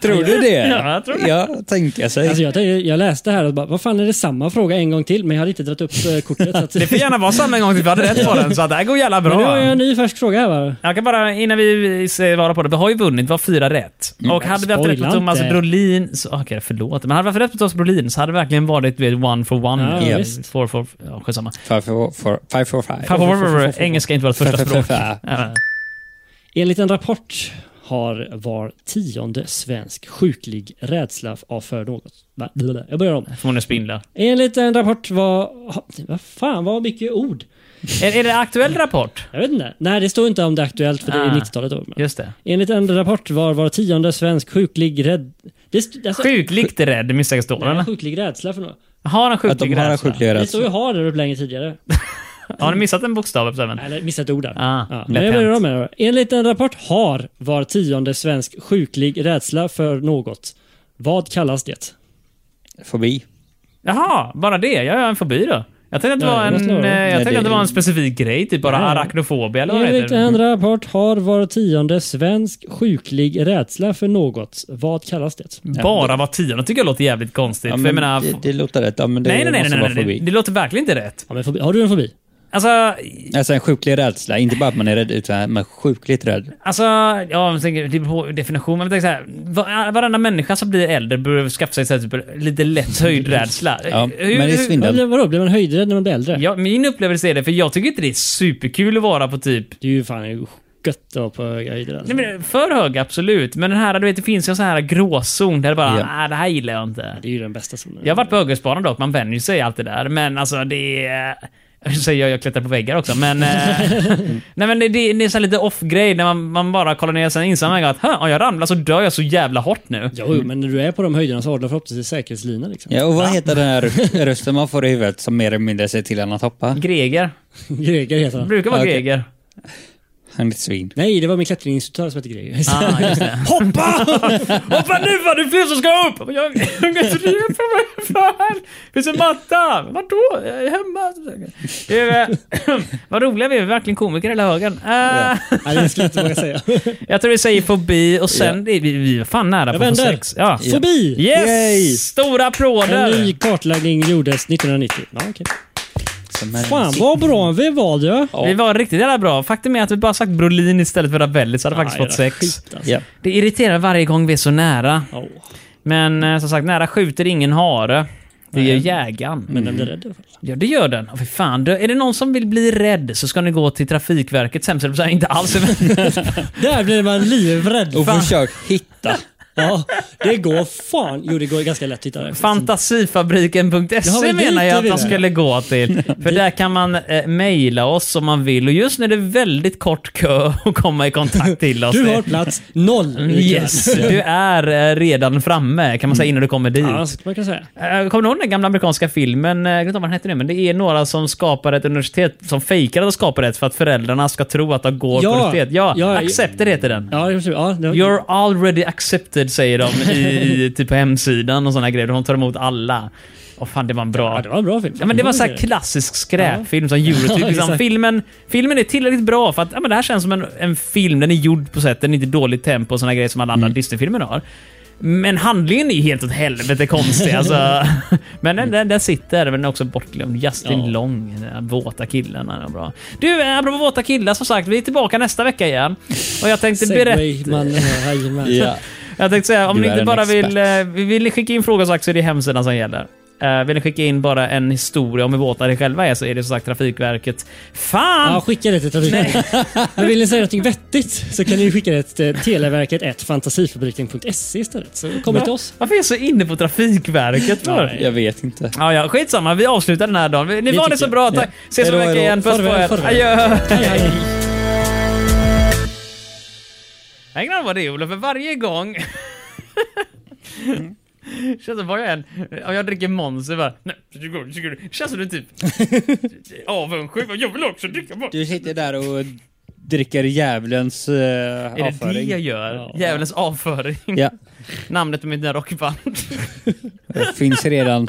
Speaker 5: Tror du det?
Speaker 3: Ja, jag tror det.
Speaker 5: Ja, tänka sig.
Speaker 1: Alltså jag, tänkte- jag läste här och bara, vad fan är det samma fråga en gång till? Men jag hade inte dragit upp eh, kortet. Så att,
Speaker 3: Det får gärna vara samma en gång till vi hade rätt på den, så att det här går jävla
Speaker 1: men nu
Speaker 3: bra.
Speaker 1: har jag en ny färsk fråga här va?
Speaker 3: Jag kan bara, innan vi svarar på det, vi har ju vunnit, vi har fyra rätt. Och hade vi haft rätt på
Speaker 1: Spoila
Speaker 3: Thomas
Speaker 1: inte.
Speaker 3: Brolin, så, ah, okej förlåt, men hade vi haft rätt på Thomas Brolin så hade det verkligen varit du vet, one for one.
Speaker 1: Ja,
Speaker 3: eh,
Speaker 1: visst.
Speaker 3: four for, ja, skitsamma.
Speaker 5: Five for for- five. for five.
Speaker 3: Fan, vad- vad- vad- Engelska är inte vårt första språk.
Speaker 5: Ja.
Speaker 3: Ja.
Speaker 1: Enligt en rapport har var tionde svensk sjuklig rädsla av för något. Va? Jag börjar om.
Speaker 3: Förmodligen spindlar.
Speaker 1: Enligt en rapport var... ha, Vad fan, vad mycket ord.
Speaker 3: Är, är det aktuell rapport?
Speaker 1: Jag vet inte. Nej, det står inte om det är aktuellt för det är
Speaker 3: Ah.
Speaker 1: 90-talet då. Men-
Speaker 3: Just det.
Speaker 1: Enligt en rapport var var tionde svensk sjuklig rädd... Det st- alltså,
Speaker 3: Sjukligt rädd misstänker står
Speaker 1: nej,
Speaker 3: eller?
Speaker 1: sjuklig rädsla för något.
Speaker 3: Har han
Speaker 5: Att de
Speaker 3: sjuklig
Speaker 5: har en
Speaker 3: rädsla?
Speaker 5: sjuklig
Speaker 1: Det står ju
Speaker 5: rädsla.
Speaker 1: har där uppe länge tidigare.
Speaker 3: Har ni missat en bokstav? Upp,
Speaker 1: Nej, Eller missat ett ord där.
Speaker 3: Ah,
Speaker 1: ja.
Speaker 3: lätt
Speaker 1: Men jag börjar
Speaker 3: hänt.
Speaker 1: om här då. Enligt en rapport har var tionde svensk sjuklig rädsla för något. Vad kallas det?
Speaker 5: Fobi.
Speaker 3: Jaha, bara det? Jag har en fobi då. Jag tänkte att det
Speaker 1: Nej,
Speaker 3: var
Speaker 1: det
Speaker 3: en,
Speaker 1: måste vara-
Speaker 3: eh, jag
Speaker 5: Nej,
Speaker 3: tänkte
Speaker 5: det-
Speaker 3: att det var en specifik grej, typ bara arachnofobi eller vad det
Speaker 1: Enligt
Speaker 3: heter.
Speaker 1: en rapport har var tionde svensk sjuklig rädsla för något. Vad kallas det?
Speaker 3: Bara var tionde tycker jag låter jävligt konstigt.
Speaker 5: Ja,
Speaker 3: för jag
Speaker 5: men
Speaker 3: menar,
Speaker 5: det, det låter rätt. Ja, men det
Speaker 3: nej, nej, nej,
Speaker 5: måste
Speaker 3: nej,
Speaker 5: vara
Speaker 3: nej, nej.
Speaker 5: fobi.
Speaker 3: Det låter verkligen inte rätt.
Speaker 1: Ja, men fobi. Har du en fobi?
Speaker 3: Alltså,
Speaker 5: Alltså en sjuklig rädsla. Inte bara att man är rädd, utan man är sjukligt rädd.
Speaker 3: Alltså, ja, jag tänker, det beror på definition, men jag tänker så här, var, varenda människa som blir äldre bör skaffa sig så här, typ, lite lätt höjdrädsla.
Speaker 5: Ja,
Speaker 3: Hur-
Speaker 5: men det är
Speaker 3: hur-
Speaker 5: svindel.
Speaker 1: Eller vadå, blir man höjdrädd när man blir äldre?
Speaker 3: ja, min upplevelse är det, för jag tycker inte det är superkul att vara på typ
Speaker 1: Det är ju fan gött att vara på höjder.
Speaker 3: Nej, men för hög, absolut. Men den här, du vet, det finns ju en sån här gråzon där det bara,
Speaker 5: Ja.
Speaker 3: ah, det här gillar jag inte.
Speaker 1: Det är ju den bästa zonen.
Speaker 3: Jag har varit på höghöjdsbanan dock, man vänjer sig allt det där. Men alltså det är... Jag säger jag, jag klättrar på väggar också, men... eh, nej men det, det, det är så här lite off-grej när man, man bara kollar ner sen inser man att "Hä, om jag ramlar så dör jag så jävla hårt nu.
Speaker 1: Jo, men när du är på de höjderna så har du förhoppningsvis säkerhetslina liksom.
Speaker 5: Ja, och vad heter den här rö- rösten man får i huvudet som mer eller mindre säger till en att hoppa?
Speaker 3: Greger.
Speaker 1: Greger heter
Speaker 3: Det
Speaker 1: han.
Speaker 3: brukar vara
Speaker 5: Okej.
Speaker 3: Greger.
Speaker 5: Han är ett svin.
Speaker 1: Nej, det var min klättringsinstruktör som hette Greger.
Speaker 3: Ah, just det. Hoppa! Hoppa nu för det är fler som ska upp! Jag, jag kan inte driva på mig. Fan! Finns en matta? Vadå? Jag är hemma. Det är, eh, vad roliga vi är. Vi är verkligen komiker eller högern. Eh,
Speaker 1: Nej, det skulle jag inte våga säga.
Speaker 3: Jag tror vi säger fobi och sen... Vi, vi vi är fan nära
Speaker 1: Jag
Speaker 3: på
Speaker 1: vänder.
Speaker 3: sex. Ja.
Speaker 1: Fobi!
Speaker 3: Yes!
Speaker 1: Yay!
Speaker 3: Stora
Speaker 1: En ny
Speaker 3: applåder!
Speaker 1: kartläggning gjordes 1990. Ja, okej.
Speaker 5: Som är
Speaker 1: Fan vad bra vi var ju.
Speaker 3: Vi var riktigt jävla bra. Faktum är att vi bara sagt Brolin istället för Ravelli så hade vi faktiskt
Speaker 1: Aj,
Speaker 3: fått
Speaker 1: jävla
Speaker 3: sex.
Speaker 1: Skit, alltså.
Speaker 5: Ja.
Speaker 3: Det irriterar varje gång vi är så nära.
Speaker 1: Ja.
Speaker 3: Men eh, som sagt, nära skjuter ingen hare. Det gör jägaren.
Speaker 1: Men den blir rädd i alla fall.
Speaker 3: Ja, det gör den. Oh, för fan. Du, är det någon som vill bli rädd så ska ni gå till Trafikverkets hemsida. Så här, Inte alls.
Speaker 1: Där blir man livrädd.
Speaker 5: Och
Speaker 1: Fan.
Speaker 5: försök hitta.
Speaker 1: Ja, det går fan. Jo, det går ganska lätt. Titta där.
Speaker 3: Fantasifabriken.se
Speaker 1: Ja, men dit
Speaker 3: menar
Speaker 1: är
Speaker 3: jag att
Speaker 1: vi
Speaker 3: de
Speaker 1: där.
Speaker 3: skulle gå till. För där kan man eh, mejla oss om man vill. Och just nu är det väldigt kort kö att komma i kontakt till oss.
Speaker 1: Du
Speaker 3: Det-
Speaker 1: har plats noll. i
Speaker 3: Yes,
Speaker 1: kön.
Speaker 3: du är eh, redan framme kan man
Speaker 1: Mm.
Speaker 3: säga innan du kommer dit.
Speaker 1: Ja, så kan man kan säga.
Speaker 3: Eh, Kommer du ihåg den gamla amerikanska filmen? Eh, Jag vet inte vad den hette nu, men det är några som skapar ett universitet, som fejkar att de skapar ett för att föräldrarna ska tro att de går
Speaker 1: Ja,
Speaker 3: på universitet. Ja,
Speaker 1: ja,
Speaker 3: Accepted heter den.
Speaker 1: Ja, det- ja, det-
Speaker 3: You're already accepted säger de i, i typ på hemsidan och såna grejer. De tar emot alla. Och fan, det var en bra...
Speaker 1: ja, det var en bra film.
Speaker 3: Ja, men det var så här
Speaker 1: Ja.
Speaker 3: klassisk skräpfilm som Eurotyp.
Speaker 1: Ja,
Speaker 3: Liksom.
Speaker 1: exakt.
Speaker 3: Filmen, filmen är tillräckligt bra för att
Speaker 1: Mm.
Speaker 3: ja, men det här känns som en, en film. Den är gjord på sätt, den är inte i dåligt tempo och såna grejer som alla andra Disney-filmer har. Men handlingen är ju helt åt helvete konstig. Alltså. Men den, den, den sitter, men den är också bortglömd. Justin
Speaker 1: Ja.
Speaker 3: Long, den här våta killen. Han är bra. Du, eh, apropå våta killar, som sagt, vi är tillbaka nästa vecka igen. Och jag tänkte berätta...
Speaker 1: Segway-mannen. jajamän.
Speaker 5: Ja.
Speaker 3: Jag tänkte säga, om
Speaker 5: Du
Speaker 3: ni
Speaker 5: är
Speaker 3: inte
Speaker 5: en
Speaker 3: bara vill,
Speaker 5: expert.
Speaker 3: eh, vill ni skicka in frågor så sagt så är det hemsidan som gäller. Eh, vill ni skicka in bara en historia om hur våta ni själva är så är det som sagt Trafikverket. Fan!
Speaker 1: Ja, skicka det till Trafikverket. Men vill ni säga något vettigt så kan ni skicka det till televerket fantasifabriken.se istället. Så kommer det till oss.
Speaker 3: Varför är jag så inne på Trafikverket för?
Speaker 5: Jag vet inte.
Speaker 3: Ja, ja, skitsamma. Vi avslutar den här dagen. Ni var det
Speaker 1: tycker
Speaker 3: så
Speaker 1: jag.
Speaker 3: bra. Tack. Ses om en vecka
Speaker 5: Hej då, hej då.
Speaker 3: igen. Puss på
Speaker 1: Farväl,
Speaker 3: er.
Speaker 1: farväl.
Speaker 3: Adjö.
Speaker 1: Hej, hej.
Speaker 3: Jag är glad vad det är Olof, för varje gång... Känns som vad jag än... Om jag dricker Monster bara... Nej, tjugo, tjugo. Känns som du typ... Avundsjuk. Jag vill också dricka Monster.
Speaker 5: Du sitter där och dricker djävulens uh,
Speaker 3: Är det
Speaker 5: avföring.
Speaker 3: det jag gör? Djävulens avföring.
Speaker 5: Ja,
Speaker 3: Namnet på mitt nya rockband.
Speaker 5: det finns redan.